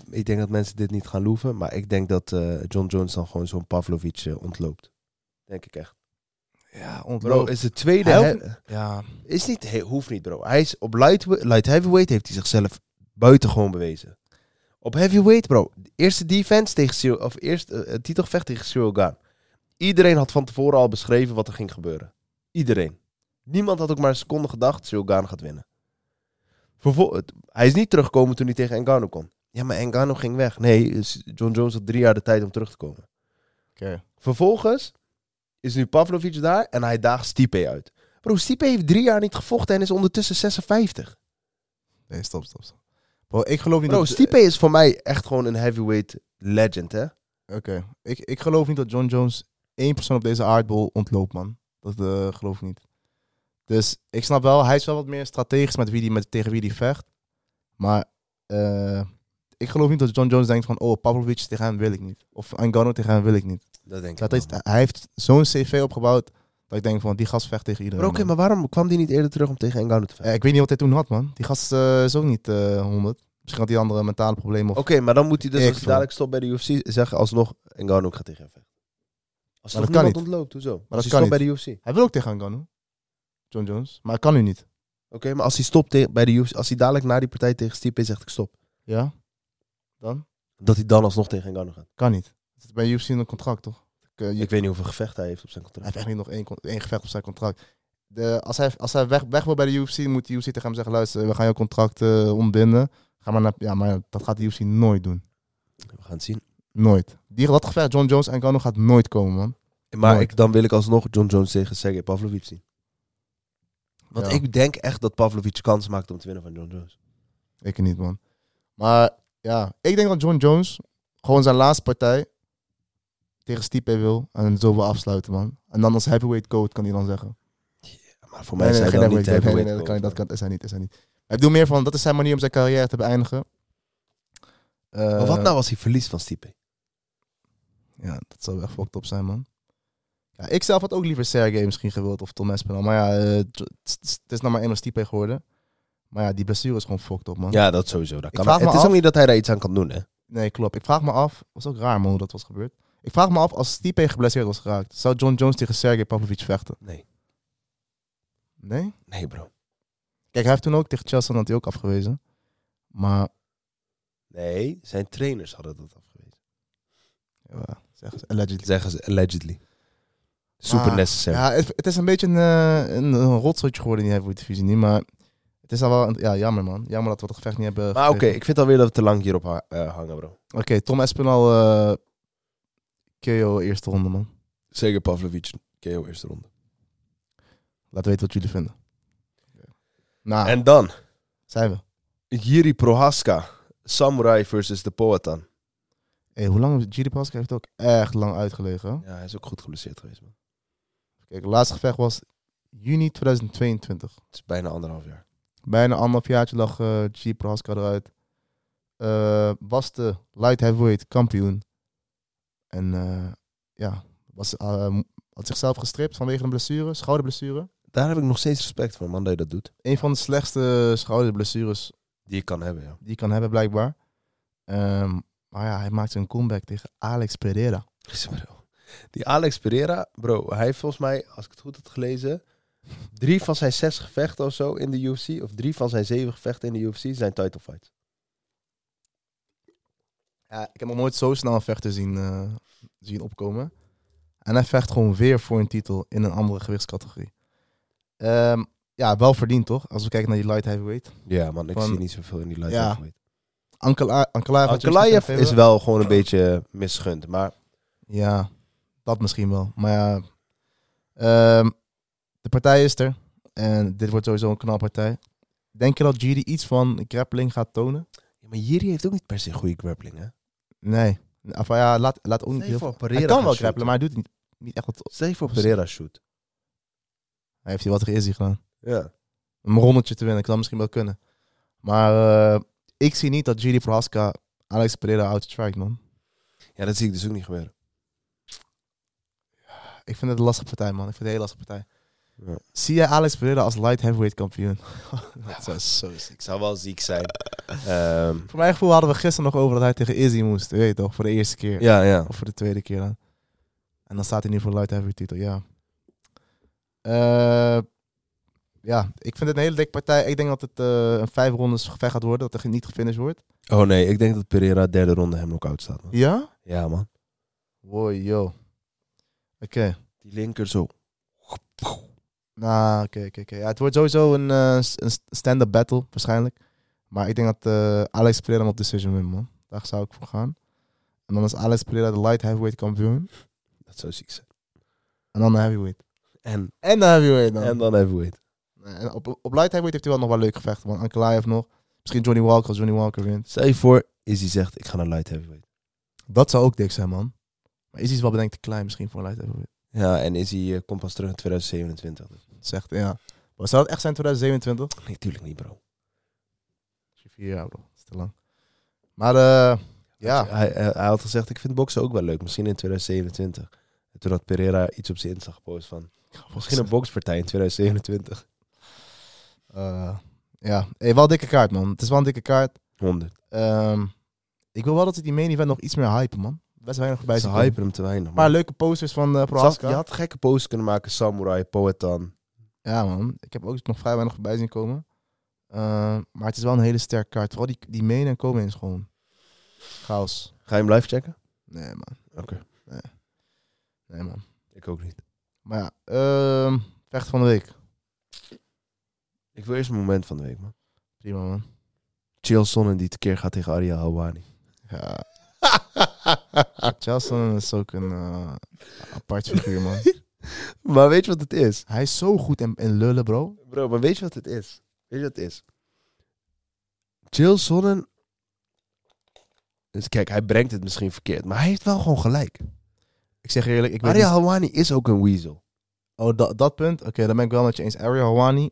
ik denk dat mensen dit niet gaan loeven. Maar ik denk dat eh, John Jones dan gewoon zo'n Pavlovic eh, ontloopt. Denk ik echt. Ja, Bro, is de tweede... Hij he- Ja, is niet, he- hoeft niet bro. Hij is op light, light heavyweight heeft hij zichzelf buitengewoon bewezen. Op heavyweight bro, eerste defense tegen Cyril, of eerst eh, eh, titelgevecht tegen Cyril Gaan. Iedereen had van tevoren al beschreven wat er ging gebeuren. Iedereen. Niemand had ook maar een seconde gedacht, Silgan gaat winnen. Vervol- het- hij is niet teruggekomen toen hij tegen Engano kon. Ja, maar Engano ging weg. Nee, s- John Jones had drie jaar de tijd om terug te komen. Oké. Vervolgens is nu Pavlovic daar en hij daagt Stipe uit. Bro, Stipe heeft drie jaar niet gevochten en is ondertussen 56. Nee, stop, stop, stop. Bro, ik geloof niet Bro, dat... Stipe is voor mij echt gewoon een heavyweight legend, hè? Oké. Ik, ik geloof niet dat John Jones één persoon op deze aardbol ontloopt, man. Dat eh, geloof ik niet. Dus ik snap wel, hij is wel wat meer strategisch met wie die, met, tegen wie die vecht. Maar eh, ik geloof niet dat John Jones denkt van... Oh, Pavlovic tegen hem wil ik niet. Of Ngannou tegen hem wil ik niet. Dat denk Dat is, hij heeft zo'n cv opgebouwd dat ik denk van... Die gast vecht tegen Bro, iedereen. oké, man. maar waarom kwam die niet eerder terug om tegen Engano te vechten? Eh, ik weet niet wat hij toen had, man. Die gast eh, is ook niet eh 100. Misschien had hij andere mentale problemen. Of... Oké, maar dan moet hij dus Ik als hij vond- dadelijk stopt bij de UFC zeggen alsnog Ngannou gaat tegen hem vechten. Als Maar toch dat kan niemand ontloopt, hoezo? Maar dat als hij kan stopt bij de UFC. Oké, Hij wil ook tegen Ngannou. John Jones. Maar hij kan nu niet. maar als hij stopt te- bij de UFC, als hij dadelijk na die partij tegen Stipe zegt ik stop, Ja? Dan? dat hij dan alsnog tegen Ngannou gaat. Kan niet. Het zit bij UFC in een contract, toch? Ik, eh, je- Ik weet niet hoeveel gevechten hij heeft op zijn Hij contract. heeft echt niet nog één, con- één gevecht op zijn contract. De, als hij, als hij weg, weg wil bij de UFC, moet de UFC tegen hem zeggen... Luister, we gaan jouw contract eh, ontbinden. Ga maar naar... Ja, maar dat gaat de UFC nooit doen. We gaan het zien. Nooit. Die, dat gevecht John Jones en Ngannou gaat nooit komen, man. Maar Nooit. ik, dan wil ik alsnog John Jones tegen Sergey Pavlovic zien. Want Ja. ik denk echt dat Pavlovic kans maakt om te winnen van John Jones. Ik niet, man. Maar ja, ik denk dat John Jones gewoon zijn laatste partij tegen Stipe wil. En zo wil afsluiten, man. En dan als heavyweight coach kan hij dan zeggen. Maar voor mij zijn geen dat niet eh, heavyweight coach. Nee, nee, heavyweight nee, dat, kan, niet, dat coach, man. kan, is hij niet, is hij niet. Ik bedoel meer van, dat is zijn manier om zijn carrière te beëindigen. Eh, Maar wat nou als hij verliest van Stipe? Ja, dat zou echt fucked op zijn, man. Ja, ik zelf had ook liever Sergey misschien gewild of Tom Espinal. Maar ja, eh, het is- het is nou maar eenmaal Stipe geworden. Maar ja, die blessure is gewoon fucked op, man. Ja, dat sowieso. Dat kan vraag het me is af- ook niet dat hij daar iets aan kan doen, hè? Nee, klopt. Ik vraag me af, was ook raar man hoe dat was gebeurd. Ik vraag me af, als Stipe geblesseerd was geraakt, zou John Jones tegen Sergey Pavlovic vechten? Nee. Nee? Nee, bro. Kijk, hij heeft toen ook tegen Chelsea had hij ook afgewezen. Maar, Nee, zijn trainers hadden dat afgewezen. ja, zeg eens, allegedly. Zeggen ze allegedly. Super Ah, necessary. Ja, het, het is een beetje een, eh, een, een rotzootje geworden in die heavyweight divisie nu, maar het is al wel, een- ja, jammer man. Jammer dat we dat gevecht niet hebben maar oké, gekregen. ik vind alweer dat we te lang hierop ha- eh, hangen, bro. Oké, Tom Espinal, eh KO eerste ronde man. Zeker Pavlovic, KO eerste ronde. Laat weten wat jullie vinden. Nou, Ah. En dan, zijn we. Jiri Prohaska. Samurai versus de Poatan. Hey, hoe lang, Giri Pascal heeft ook echt lang uitgelegen. hè? Ja, hij is ook goed geblesseerd geweest, man. Kijk, het laatste gevecht was juni 2022. Het is bijna anderhalf jaar. Bijna anderhalf jaartje lag eh G. Prohaska eruit. Eh, was de light heavyweight kampioen. En eh, ja, was, eh, had zichzelf gestript vanwege een blessure, schouderblessure. Daar heb ik nog steeds respect voor, man, dat je dat doet. Een van de slechtste schouderblessures Die je kan hebben, ja. die je kan hebben, blijkbaar. Ehm, maar ja, hij maakte een comeback tegen Alex Pereira. Bro. Die Alex Pereira, bro, hij heeft volgens mij, als ik het goed had gelezen, drie van zijn zes gevechten of zo in de UFC, of drie van zijn zeven gevechten in de UFC zijn title fights. Ja, ik heb nog nooit zo snel een vechter zien, eh, zien opkomen. En hij vecht gewoon weer voor een titel in een andere gewichtscategorie. Ehm, ja, wel verdiend toch? Als we kijken naar die light heavyweight. Ja, man, ik Van- zie niet zoveel in die light Ja. heavyweight. Ankala- Ankalaev had je Ankalaev misschien is gegeven. wel gewoon een beetje misgund. Maar Ja, dat misschien wel. Maar ja, ehm, de partij is er. En dit wordt sowieso een knalpartij. Denk je dat Giri iets van grappling gaat tonen? ja, maar Jiri heeft ook niet per se goede grappling, hè? Nee. Of ja, laat, laat ook niet Stel je heel voor Hij Pereira kan wel gaat grappelen, shooten. maar hij doet het niet, niet echt wat. Stel je voor Pereira shoot. Hij heeft hier wat tegen Izzy gedaan. Ja. een rondetje te winnen. Ik zou misschien wel kunnen. Maar eh, ik zie niet dat Giri Prohaska Alex Pereira outstrike, man. ja, dat zie ik dus ook niet gebeuren. Ik vind het een lastige partij, man. Ik vind het een hele lastige partij. Ja. Zie jij Alex Pereira als light heavyweight kampioen? dat zou zo ziek Ik zijn. zou wel ziek zijn. Ehm, Voor mijn gevoel hadden we gisteren nog over dat hij tegen Izzy moest. Je weet toch, voor de eerste keer. ja, ja. Of voor de tweede keer dan. En dan staat hij nu voor light heavyweight titel, ja. Eh, ja, ik vind het een hele dikke partij. Ik denk dat het eh, een vijf rondes gevecht gaat worden. Dat er niet gefinished wordt. Oh nee, ik denk dat Pereira derde ronde hem nog out staat. Man. Ja? Ja, man. Wow, yo. Oké, Die linker zo. Nou, oké, oké, oké. Ja, het wordt sowieso een, eh, s- een stand-up battle, waarschijnlijk. Maar ik denk dat eh, Alex Pereira hem op decision wint, man. Daar zou ik voor gaan. En dan is Alex Pereira de light heavyweight kampioen. Dat zou ziek zijn. En dan de heavyweight. En, En de heavyweight dan. en dan heavyweight. Nee, En op, op light heavyweight heeft hij wel nog wel leuk gevechten, man. Ankalaev nog. Misschien Johnny Walker als Johnny Walker wint. Stel je voor, Izzy zegt, ik ga naar light heavyweight. Dat zou ook dik zijn, man. Maar is iets wel bedenkt te klein misschien voor een light heavyweight. Ja, en Izzy eh, komt pas terug in 2027. Dus- Zegt, ja. Maar zou dat echt zijn 2027? Nee, tuurlijk niet, bro. Misschien Vier jaar, bro. Dat is te lang. Maar, eh ja. Hij, hij, hij had gezegd, ik vind boksen ook wel leuk. Misschien in 2027. En toen had Pereira iets op zijn Insta gepost van... Misschien Dus, een bokspartij in 2027. Eh, ja, hey, wel een dikke kaart, man. Het is wel een dikke kaart. 100. Ehm, ik wil wel dat ze die main event nog iets meer hypen, man. Best weinig bij Ze zijn hypen hem te weinig, Een man. paar leuke posters van eh Zag- Prohaska. je had gekke posts kunnen maken. Samurai, Poetan. Ja, man. Ik heb ook nog vrij weinig voorbij zien komen. Ehm, maar het is wel een hele sterke kaart. Vooral die, die main en komen is gewoon chaos. Ga je hem live checken? Nee, man. Oké. Nee, man. Ik ook niet. Maar ja, ehm, vecht van de week. Ik wil eerst mijn moment van de week, man. Prima, man. Chill Sonnen die tekeer gaat tegen Aria Hawani. Ja. Charleston is ook een eh, apart figuur, man. maar weet je wat het is? Hij is zo goed in, in lullen, bro. Bro, maar weet je wat het is? Weet je wat het is? Chill Sonnen... Dus kijk, hij brengt het misschien verkeerd. Maar hij heeft wel gewoon gelijk. Ik zeg je eerlijk, ik weet Aria niet... Hawani is ook een weasel. Oh, dat, dat punt? Oké, dan ben ik wel met je eens. Ariel Hawani,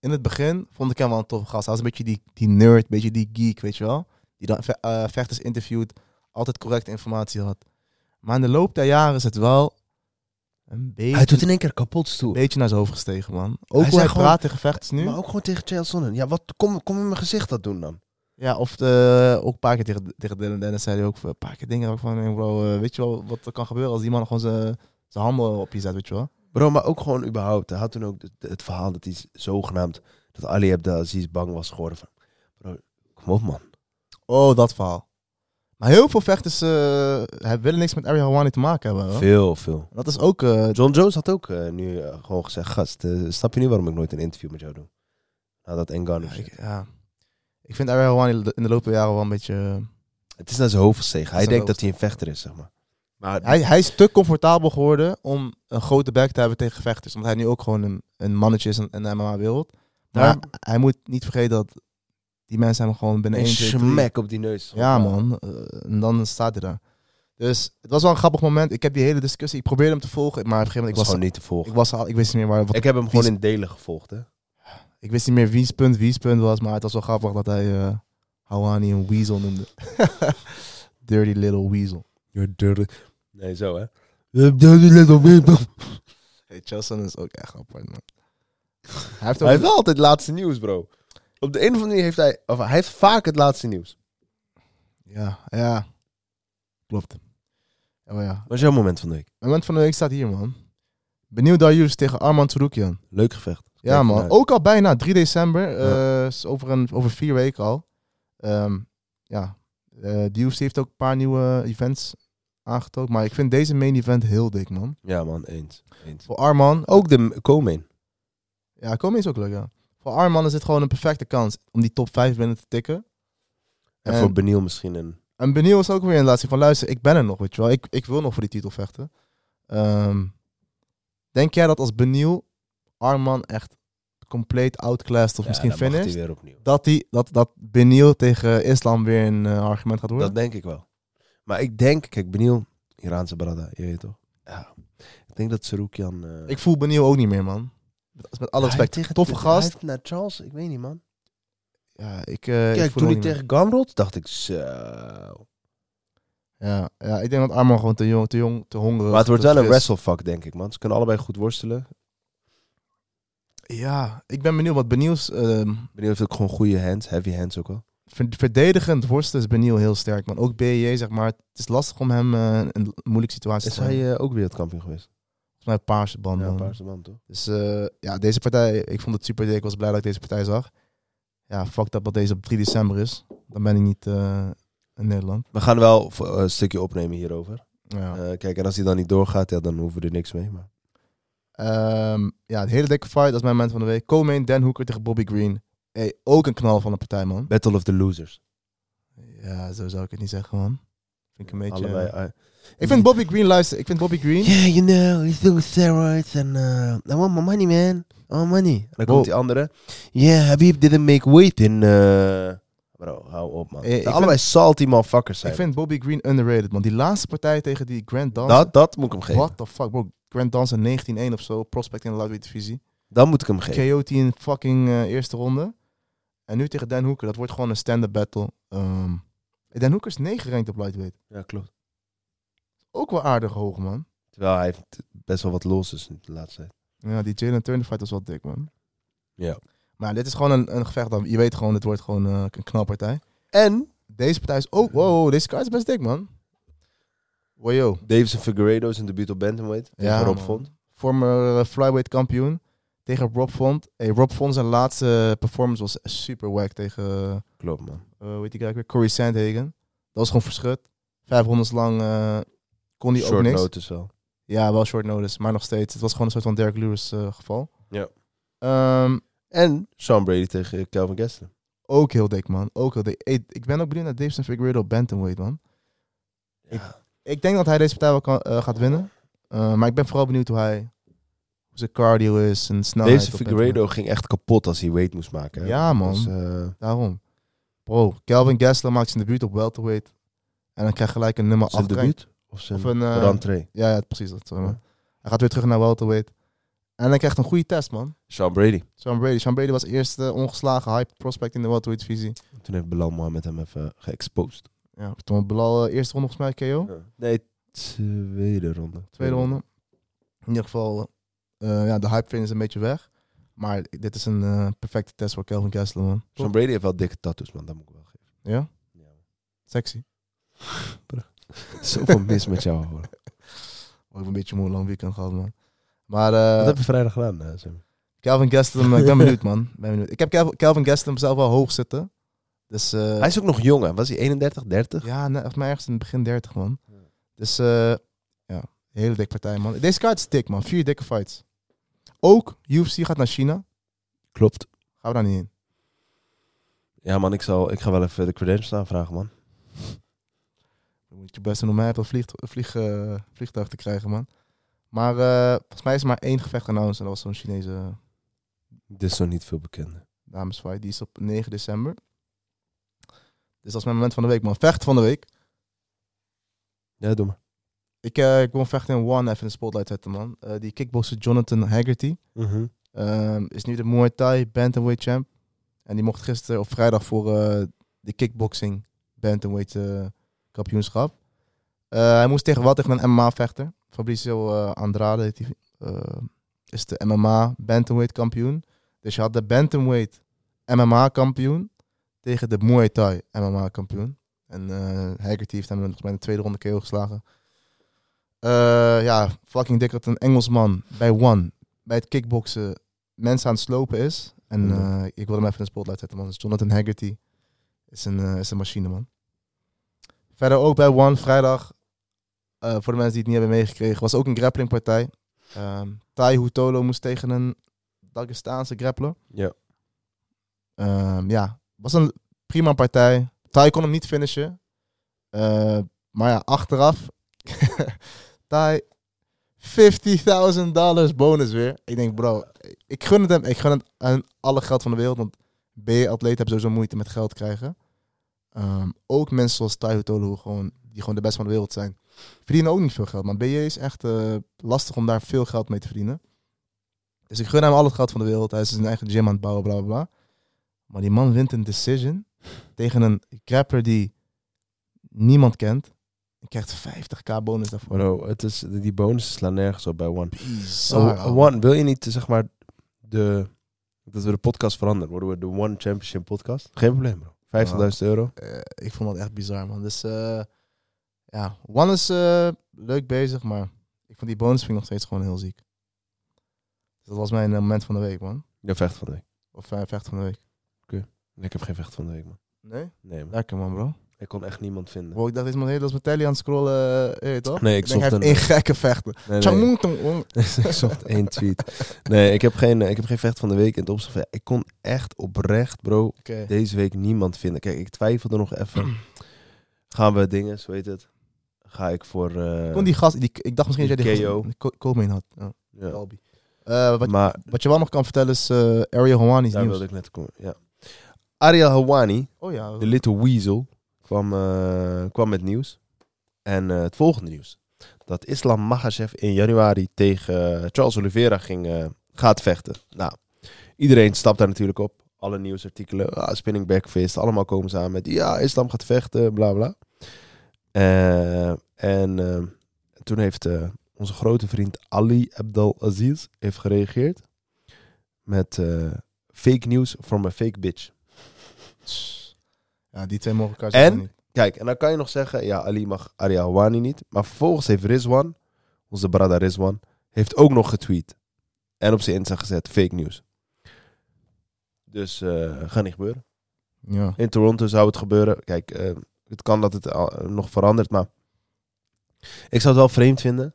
in het begin vond ik hem wel een toffe gast. Hij was een beetje die, die nerd, een beetje die geek, weet je wel. Die dan ve- eh, vechters interviewt, altijd correcte informatie had. Maar in de loop der jaren is het wel een beetje, Hij doet in één keer kapot stoer. een beetje naar zijn hoofd gestegen, man. Ook Hij hoe zei hij gewoon- praat tegen vechters nu. Maar ook gewoon tegen Chael Sonnen. Ja, wat, kom, kom in mijn gezicht dat doen dan. Ja, of de, ook een paar keer tegen, tegen Dylan Dennis zei hij ook eh, een paar keer dingen ook van, hey bro, eh, weet je wel wat er kan gebeuren als die man gewoon zijn zijn handen op je zet, weet je wel. Bro, maar ook gewoon überhaupt. Hij had toen ook het, het verhaal dat hij z- zogenaamd... Dat Ali Abdelaziz bang was geworden van... Bro, kom op man. Oh, dat verhaal. Maar heel veel vechters eh, hebben willen niks met Ariel Hawani te maken hebben. hoor. Veel, veel. Dat is ook... eh, John Jones had ook eh, nu eh, gewoon gezegd... Gast, eh, snap je nu waarom ik nooit een interview met jou doe? Nou, dat Engano. ja, ik, ja. ik vind Ariel Hawani in de loop der jaren wel een beetje... eh, Het is naar zijn hoofd gestegen. Hij is naar denkt dat hij een vechter is, zeg maar. Maar hij, hij is te comfortabel geworden om een grote back te hebben tegen vechters. Omdat hij nu ook gewoon een, een mannetje is in in de MMA-wereld. Maar Daar- hij moet niet vergeten dat die mensen hem gewoon binnen een 1, 2, 3 smack op die neus. Ja, man. Eh, en dan staat hij daar. Dus het was wel een grappig moment. Ik heb die hele discussie. Ik probeerde hem te volgen, maar op een gegeven Ik moment was ik was, gewoon niet te ik volgen. was al, ik wist niet meer waar. Wat, Ik heb hem gewoon in delen gevolgd, hè. ik wist niet meer wie's punt wie's punt was, maar het was wel grappig dat hij eh Hawani een weasel noemde. Dirty little weasel. You're Nee, zo hè. Hey, Chelsea is ook echt apart, man. Hij heeft Hij heeft ook, wel altijd het laatste nieuws, bro. Op de een of andere manier heeft hij... Of hij heeft vaak het laatste nieuws. ja, ja. Klopt. Oh ja. Wat is jouw moment van de week? Moment van de week staat hier, man. Benieuwd Darius tegen Arman Tsourokian. Leuk gevecht. Kijk Ja, man. ernaar. Ook al bijna 3 december. eh, is over, een, over vier weken al. Ehm, ja. Eh de UFC heeft ook een paar nieuwe events aangetoond. Maar ik vind deze main event heel dik, man. Ja, man. Eens. Eens. Voor Arman. Ook, Ook de komen. ja, komen is ook leuk, ja. Voor Arman is dit gewoon een perfecte kans om die top 5 binnen te tikken. En, En- voor Beniel misschien een... En Benieuw is ook weer in laatste van luister, ik ben er nog, weet je wel. Ik, ik wil nog voor die titel vechten. Ehm, denk jij dat als Benieuw Arman echt compleet outclassed of Ja, misschien dan mag finished? hij weer opnieuw. dat, die, dat, dat Beniel tegen Islam weer een eh, argument gaat worden? Dat denk ik wel. Maar ik denk... Kijk, Beniel... Iraanse brada. Je weet toch? Ja. Ik denk dat Sarukian... eh, Ik voel Beniel ook niet meer, man. Met, met alle hij respect. tegen- Toffe hij gast. heeft naar Charles... Ik weet niet, man. Ja, ik, eh, ik Kijk, voel toen hem hij niet tegen Gamrot... dacht ik... Zo... meer. Ja, ja, ik denk dat Arman gewoon te jong, te, jong, te hongerig... Maar het wordt te wel een fris. wrestlefuck, denk ik, man. Ze kunnen allebei goed worstelen. Ja, ik ben benieuwd. Want Beniel's ehm, Beniel heeft ook gewoon goede hands. Heavy hands ook wel. ver- verdedigend worstelen is Beniel heel sterk, man. Ook BJ, zeg maar. Het is lastig om hem eh, in een moeilijke situatie Is te brengen. hij eh, ook wereldkampioen geweest? Volgens mij paarse band, Ja, man. paarse man, toch? Dus eh, ja, deze partij, ik vond het super dik. Ik was blij dat ik deze partij zag. Ja, fuck dat dat deze op 3 december is. Dan ben ik niet eh, in Nederland. We gaan wel v- een stukje eh, opnemen hierover. Ja. Eh, kijk, en als hij dan niet doorgaat, ja, dan hoeven we er niks mee. Maar... Ehm, ja, een hele dikke fight. Dat is mijn moment van de week. Komen Dan Hoeker tegen Bobby Green. Hey, ook een knal van een partij, man. Battle of the Losers. Ja, zo zou ik het niet zeggen, man. Vind ik een beetje... Allebei. eh, Ik vind Bobby Green, luister. Ik vind Bobby Green... Yeah, you know, he's doing steroids and uh, I want my money, man. I want money. En dan Wow. komt die andere. Yeah, Habib didn't make weight in... eh Bro, hou op, man. Eh, ik De allebei salty motherfuckers zijn. Ik vind Bobby Green underrated, man. Die laatste partij tegen die Grant Dawson. dat, dat moet ik hem geven. What the fuck, bro. Grant Dawson 19-1 of zo. Prospect in de lightweight divisie. Dan moet ik hem geven. KOT in fucking eh, eerste ronde. En nu tegen Dan Hoeker. Dat wordt gewoon een stand-up battle. Ehm, Dan Hoeker is 9 ranked op lightweight. Ja, klopt. Ook wel aardig hoog, man. Terwijl hij heeft best wel wat losses in de laatste tijd. Ja, die Jalen Turner fight was wel dik, man. Ja. Maar dit is gewoon een, een gevecht. dat- Je weet gewoon, dit wordt gewoon eh, een knalpartij. En Deze partij is ook... Wow, deze kaart is best dik, man. Wajo. Davis en Figueredo is een debuut op Bantamweight. Ja, Ja, Rob man. Font. Former eh, flyweight kampioen. Tegen Rob Font. Hey, Rob Font zijn laatste performance was super wack tegen... Klopt, man. eh, hoe heet die guy ook weer? Corey Sandhagen. Dat was gewoon verschut. Vijf rondes lang eh, kon hij ook Short niks. notice wel. Ja, wel short notice. Maar nog steeds. Het was gewoon een soort van Derek Lewis eh, geval. Ja. Ehm, En Sean Brady tegen Calvin Kessler. Nou, ook heel dik, man. Ook heel dik. Hey, ik ben ook benieuwd naar Davison Figueredo op bantamweight, man. Ik denk dat hij deze partij wel kan, eh, gaat winnen. Eh, maar ik ben vooral benieuwd hoe hij... Hoe zijn cardio is en snelheid. Deze op Figueredo ging echt kapot als hij weight moest maken. hè. Ja, man. Dus, eh, Daarom. Bro, Kelvin Gessler maakt zijn debuut op welterweight. En dan krijg je gelijk een nummer 8 zijn debuut? Of zijn Of een... eh, rentree? ja, ja, precies. Dat, zeg maar. Ja. Hij gaat weer terug naar welterweight. En hij krijgt een goede test, man. Sean Brady. Sean Brady. Sean Brady was eerste ongeslagen hype prospect in de welterweight divisie. Toen heeft Belal Mohamed hem even eh, geëxposed. Ja, toen Belal eh, eerste ronde volgens mij KO. Oh. Nee, tweede ronde. Tweede ronde. In ieder geval, eh, ja, de hype train is een beetje weg. Maar dit is een eh, perfecte test voor Kelvin Kessler, man. Sean Brady heeft wel dikke tattoos, man. Dat moet ik wel geven. Ja? Sexy. Zoveel mis met jou, hoor. Oh, ik heb een beetje moe lang weekend gehad, man. Maar eh, Wat heb je vrijdag gedaan? eh, Sam? Kelvin Gastelum, eh, ik ben benieuwd, man. Ik Ben benieuwd. Ik heb Kel- Kelvin Gastelum zelf wel hoog zitten. Dus eh, hij is ook nog jong, hè? Was hij 31, 30? ja, nee, volgens mij ergens in het begin 30, man. Dus eh ja, hele dikke partij, man. Deze kaart is dik, man. Vier dikke fights. Ook UFC gaat naar China. Klopt. Gaan we daar niet in. Ja, man. Ik, zal, ik ga wel even de credentials aanvragen, man. Dan moet je best doen om mij op een vlieg, vlieg, eh, vliegtuig te krijgen, man. Maar eh, volgens mij is er maar één gevecht announced. En dat was zo'n Chinese Dit is nog niet veel bekend. damesfight. Die is op 9 december. Dus dat is mijn moment van de week, man. Vecht van de week. Ja, doe maar. Ik, eh, ik wil een vecht in One even in de spotlight zetten, man. Eh, die kickboxer Jonathan Haggerty ehm, is nu de Muay Thai Bantamweight champ. En die mocht gisteren op vrijdag voor eh, de kickboxing Bantamweight eh, kampioenschap. Eh, hij moest tegen wat? Tegen een MMA-vechter. Fabricio eh, Andrade heet die, eh, is de MMA Bantamweight kampioen. Dus je had de Bantamweight MMA kampioen tegen de Muay Thai MMA kampioen. En eh Haggerty heeft hem volgens mij in de tweede ronde KO geslagen. Eh, ja, fucking dik dat een Engelsman bij One, bij het kickboksen, mensen aan het slopen is. En Ja. eh, ik wil hem even in de spotlight zetten, man. Dus Jonathan Haggerty is een, eh, is een machine, man. Verder ook bij One, vrijdag, eh, voor de mensen die het niet hebben meegekregen, was ook een grapplingpartij. Ehm Tai Hutolo moest tegen een Dagestaanse grappler. Ja. Ehm, ja, was een prima partij. Tai kon hem niet finishen. Eh, maar ja, achteraf. Tai, 50.000 dollars bonus weer. Ik denk, bro, ik gun het hem. Ik gun het aan alle geld van de wereld. Want B-atleet hebben sowieso moeite met geld krijgen. Ehm, ook mensen zoals Tai Hutolo, gewoon, die gewoon de beste van de wereld zijn, verdienen ook niet veel geld. Maar BJ is echt eh, lastig om daar veel geld mee te verdienen. Dus ik gun hem al het geld van de wereld. Hij is zijn eigen gym aan het bouwen, bla bla bla. Maar die man wint een decision tegen een grappler die niemand kent. En krijgt 50k bonus daarvoor. Bro, het is, die bonussen slaan nergens op bij One. Bizar. Oh, ouwe. One, wil je niet, zeg maar, de, dat we de podcast veranderen? Worden we de One Championship podcast? Geen probleem, bro. Ah. 50.000 euro. Eh, ik vond dat echt bizar, man. Dus eh, ja, One is eh, leuk bezig, maar ik vond die bonus vind ik nog steeds gewoon heel ziek. Dus dat was mijn eh, moment van de week, man. Ja, vecht van de week. Of eh, vecht van de week. Ik heb geen vecht van de week, man. Nee? Nee, man. Lekker, man, bro. Ik kon echt niemand vinden. Wow, ik dacht, deze man heel als met telly aan het scrollen, eh, weet je toch? Nee, ik denk, zocht hij heeft een- eh, één gekke vechten. Nee, nee. Tjamoeng, tong, ong. ik zocht één tweet. Nee, ik heb geen, eh, ik heb geen vecht van de week in het opzicht. van- Ik kon echt oprecht, bro, Oké. deze week niemand vinden. Kijk, ik twijfelde nog even. Gaan we dingen, zo heet het. Ga ik voor... eh, Kon die gast, die, ik dacht misschien dat jij die KO. gast Ko- Komen in had. Ja, ja. Albi. Eh, wat, Maar wat je wel nog kan vertellen is eh Ariel Hawani's daar nieuws. wilde ik net komen, ja. Ariel Hawani, Oh ja, de Little Weasel, kwam, eh, kwam met nieuws. En eh, het volgende nieuws. Dat Islam Makhachev in januari tegen eh, Charles Oliveira ging, eh, gaat vechten. Nou, iedereen stapt daar natuurlijk op. Alle nieuwsartikelen, ah, spinning backfist, allemaal komen ze aan met... Ja, Islam gaat vechten, bla bla. Eh, en eh, toen heeft eh, onze grote vriend Ali Abdelaziz heeft gereageerd met eh, fake news from a fake bitch. ja, die twee mogen elkaar zeggen En? niet. Kijk, en dan kan je nog zeggen, ja, Ali mag Aria Hawani niet. Maar vervolgens heeft Rizwan, onze brada Rizwan, heeft ook nog getweet. En op zijn Insta gezet, fake news. Dus eh gaat niet gebeuren. Ja. In Toronto zou het gebeuren. Kijk, eh, het kan dat het al- eh, nog verandert, maar... Ik zou het wel vreemd vinden.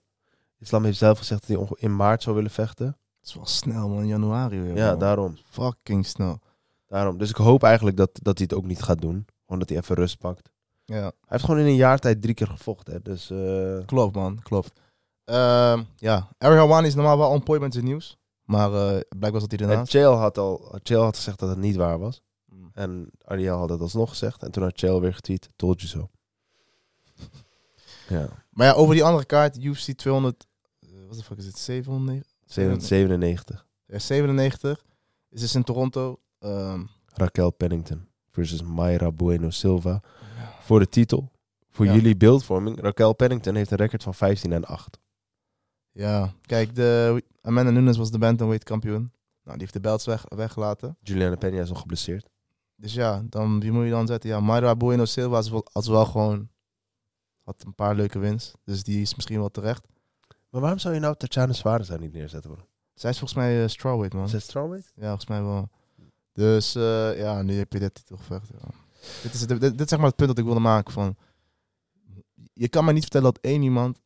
Islam heeft zelf gezegd dat hij onge- in maart zou willen vechten. Het is wel snel, man. Januari weer. Ja, man. daarom. Fucking snel. daarom. Dus ik hoop eigenlijk dat, dat hij het ook niet gaat doen. Gewoon dat hij even rust pakt. Ja, Hij heeft gewoon in een jaar tijd drie keer gevochten, hè. Dus... eh, klopt, man. Klopt. Ehm, ja, Ariel Hawani is normaal wel on point met zijn nieuws. Maar eh blijkbaar zat hij En ernaast. Chael had al Chael had gezegd dat het niet waar was. Mm. En Ariel had het alsnog gezegd. En toen had Chael weer getweet, told you so. Ja, Maar ja, over die andere kaart, UFC 200... eh, wat de fuck is het? 700? 97. eh, 97. Is dus in Toronto. Ehm, Raquel Pennington versus Mayra Bueno Silva. Voor de titel. Voor Ja. jullie beeldvorming. Raquel Pennington heeft een record van 15 en 8. ja, kijk, de, Amanda Nunes was de bantamweight kampioen. Nou, die heeft de belts weg, weggelaten. Juliana Pena is nog geblesseerd. Dus ja, dan, wie moet je dan zetten? Ja, Mayra Bueno Silva is wel, als wel gewoon... Had een paar leuke wins. Dus die is misschien wel terecht. Maar waarom zou je nou Tatjana Suarez daar niet neerzetten? Bro? Zij is volgens mij eh, strawweight, man. Is het strawweight? Ja, volgens mij wel. Dus eh, ja, nu heb je dit titelgevecht. Ja. Dit, is, dit, dit is zeg maar het punt dat ik wilde maken. Van, je kan mij niet vertellen dat één iemand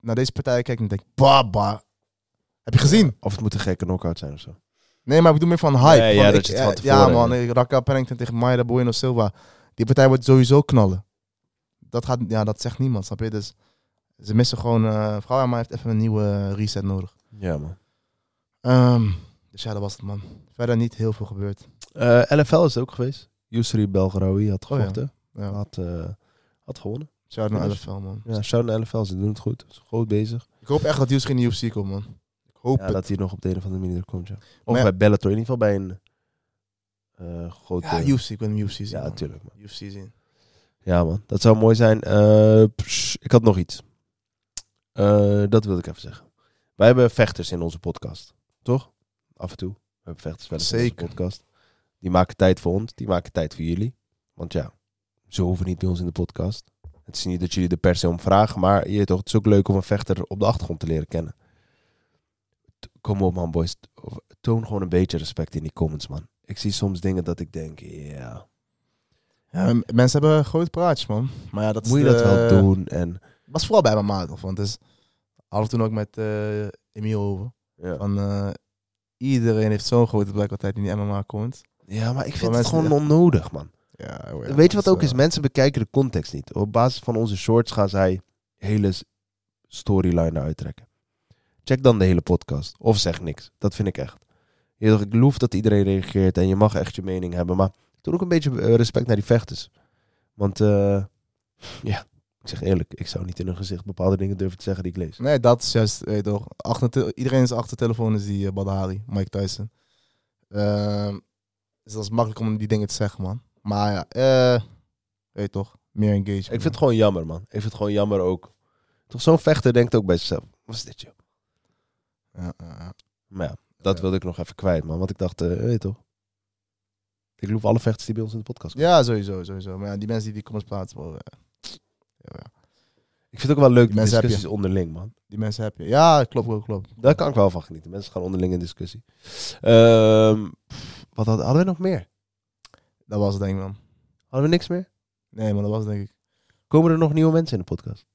naar deze partij kijkt en denkt, baba. Heb je gezien? Of het moet een gekke knockout zijn of zo. Nee, maar ik bedoel meer van hype. Nee, van, ja, ik- dat je het van ja, tevoren man. hebt. nee, Raquel Pennington tegen Mayra Bueno Silva. Die partij wordt sowieso knallen. Dat, gaat, ja, dat zegt niemand, snap je? Dus ze missen gewoon... eh vrouw maar heeft even een nieuwe reset nodig. Ja, man. Ehm, dus ja, dat was het, man. Verder niet heel veel gebeurd. Eh, LFL is het ook geweest. Yusri Belgraoui had Oh ja. gevochten. Ja. had, eh, had gewonnen. Shout out naar Finish. LFL, man. Ja, shout naar LFL, ze doen het goed. Ze zijn goed bezig. Ik hoop echt dat Yusuf in de UFC komt, man. Ik hoop Ja, het. dat hij nog op de een of andere manier er komt, ja. Of Maar ja- bij Bellator, in ieder geval bij een eh grote... Ja, UFC. Ik wil hem UFC zien. Ja, man. natuurlijk. Man. UFC zien. Ja, man. Dat zou mooi zijn. Eh, pss, ik had nog iets. Eh, dat wilde ik even zeggen. Wij hebben vechters in onze podcast, toch? Af en toe. We hebben vechters wel eens in onze Zeker. podcast. Die maken tijd voor ons, die maken tijd voor jullie. Want ja, ze hoeven niet bij ons in de podcast. Het is niet dat jullie er per se om vragen, maar je, weet toch, het is ook leuk om een vechter op de achtergrond te leren kennen. T- Kom op man, boys. Toon gewoon een beetje respect in die comments, man. Ik zie soms dingen dat ik denk, ja... Ja, m- mensen hebben groot praatjes, man. Maar ja, dat is moet je de- dat eh, wel doen? En was vooral bij mijn maat, toch? Want dus, hadden we toen ook met eh Emiel over. ja. Van, eh, iedereen heeft zo'n grote blik altijd in die MMA komt. Ja, maar ik Voor vind het mensen die gewoon onnodig, man. Ja, eh, Weet je wat ook is? eh, Mensen bekijken de context niet. Op basis van onze shorts gaan zij hele s- storyline eruit trekken. Check dan de hele podcast. Of zeg niks. Dat vind ik echt. Je weet toch, Ik loef dat iedereen reageert en je mag echt je mening hebben. Maar doe ook een beetje eh, respect naar die vechters. Want eh, ja, ik zeg eerlijk, ik zou niet in hun gezicht bepaalde dingen durven te zeggen die ik lees. Nee, dat is juist, weet je toch. Achter, iedereen is achtertelefoon is die eh, Badari, Mike Tyson. Ehm, dus dat is makkelijk om die dingen te zeggen, man. Maar ja, eh, weet je toch, meer engagement. Ik vind het gewoon jammer, man. Ik vind het gewoon jammer ook. Toch zo'n vechter denkt ook bij zichzelf. Wat is dit, joh? Ja, ja, ja. Maar ja, dat Ja. wilde ik nog even kwijt, man. Want ik dacht, eh, weet je toch? Ik loef alle vechters die bij ons in de podcast komen. Ja, sowieso, sowieso. Maar ja, die mensen die die comments plaatsen, bro, eh, ja, ja. Ik vind het ook wel leuk, de Mensen heb je. discussies onderling, man. die mensen heb je. Ja, klopt, klopt, klopt. Daar kan ik wel van genieten. Mensen gaan onderling in discussie. Ehm, pff, wat hadden, hadden we nog meer? Dat was het denk ik, man. Hadden we niks meer? Nee, maar dat was het, denk ik. Komen er nog nieuwe mensen in de podcast?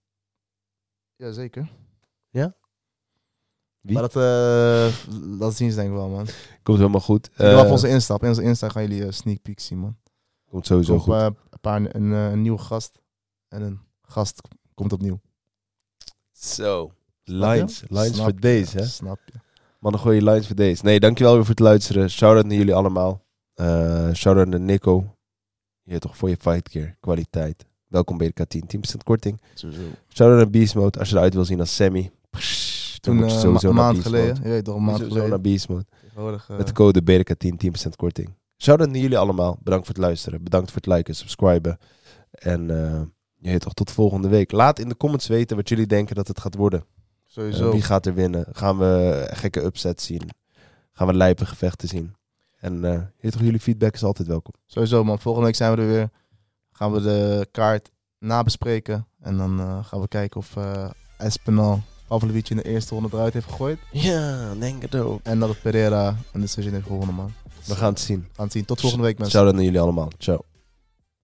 Jazeker. Ja? Wie? Maar dat, eh, dat zien ze denk ik wel, man. Komt helemaal goed. Ik wil Eh, op onze Insta. Op onze Insta gaan jullie eh, sneak peek zien, man. komt Er sowieso komt, goed. eh, een, paar, een, eh, een nieuwe gast. En een gast k- komt opnieuw. Zo. Lines. Snap je? Lines Snap voor je, deze, hè? Snap je. Man, dan gooi je lines voor deze. Nee, dankjewel weer voor het luisteren. Shout-out naar jullie allemaal. Eh Shout-out naar Nico. Je hebt toch voor je fight keer. Kwaliteit. Welkom bij de K10. 10% korting. Shout-out naar Beast Mode. Als je eruit wil zien als Sammy. Pssst, dan Toen moet je eh, sowieso ma- een naar maand Beast geleden. Mode. Je weet toch, een Moet je maand sowieso geleden. naar Beast Mode. Tegenwoordig, eh, Met de code BRK10 10% korting. Shout-out naar jullie allemaal. Bedankt voor het luisteren. Bedankt voor het liken, subscriben. En eh, je heet toch tot volgende week. Laat in de comments weten wat jullie denken dat het gaat worden. Eh, sowieso. wie gaat er winnen? Gaan we gekke upsets zien? Gaan we lijpe gevechten zien? En eh, je weet toch, jullie feedback is altijd welkom. Sowieso, man. Volgende week zijn we er weer. Gaan we de kaart nabespreken. En dan eh, gaan we kijken of eh Espinal Pavlovic in de eerste ronde eruit heeft gegooid. Ja, denk het ook. En dat het Pereira een decision heeft gewonnen, man. We gaan het zien. We gaan het zien. Tot volgende week, mensen. Shout-out naar jullie allemaal. Ciao.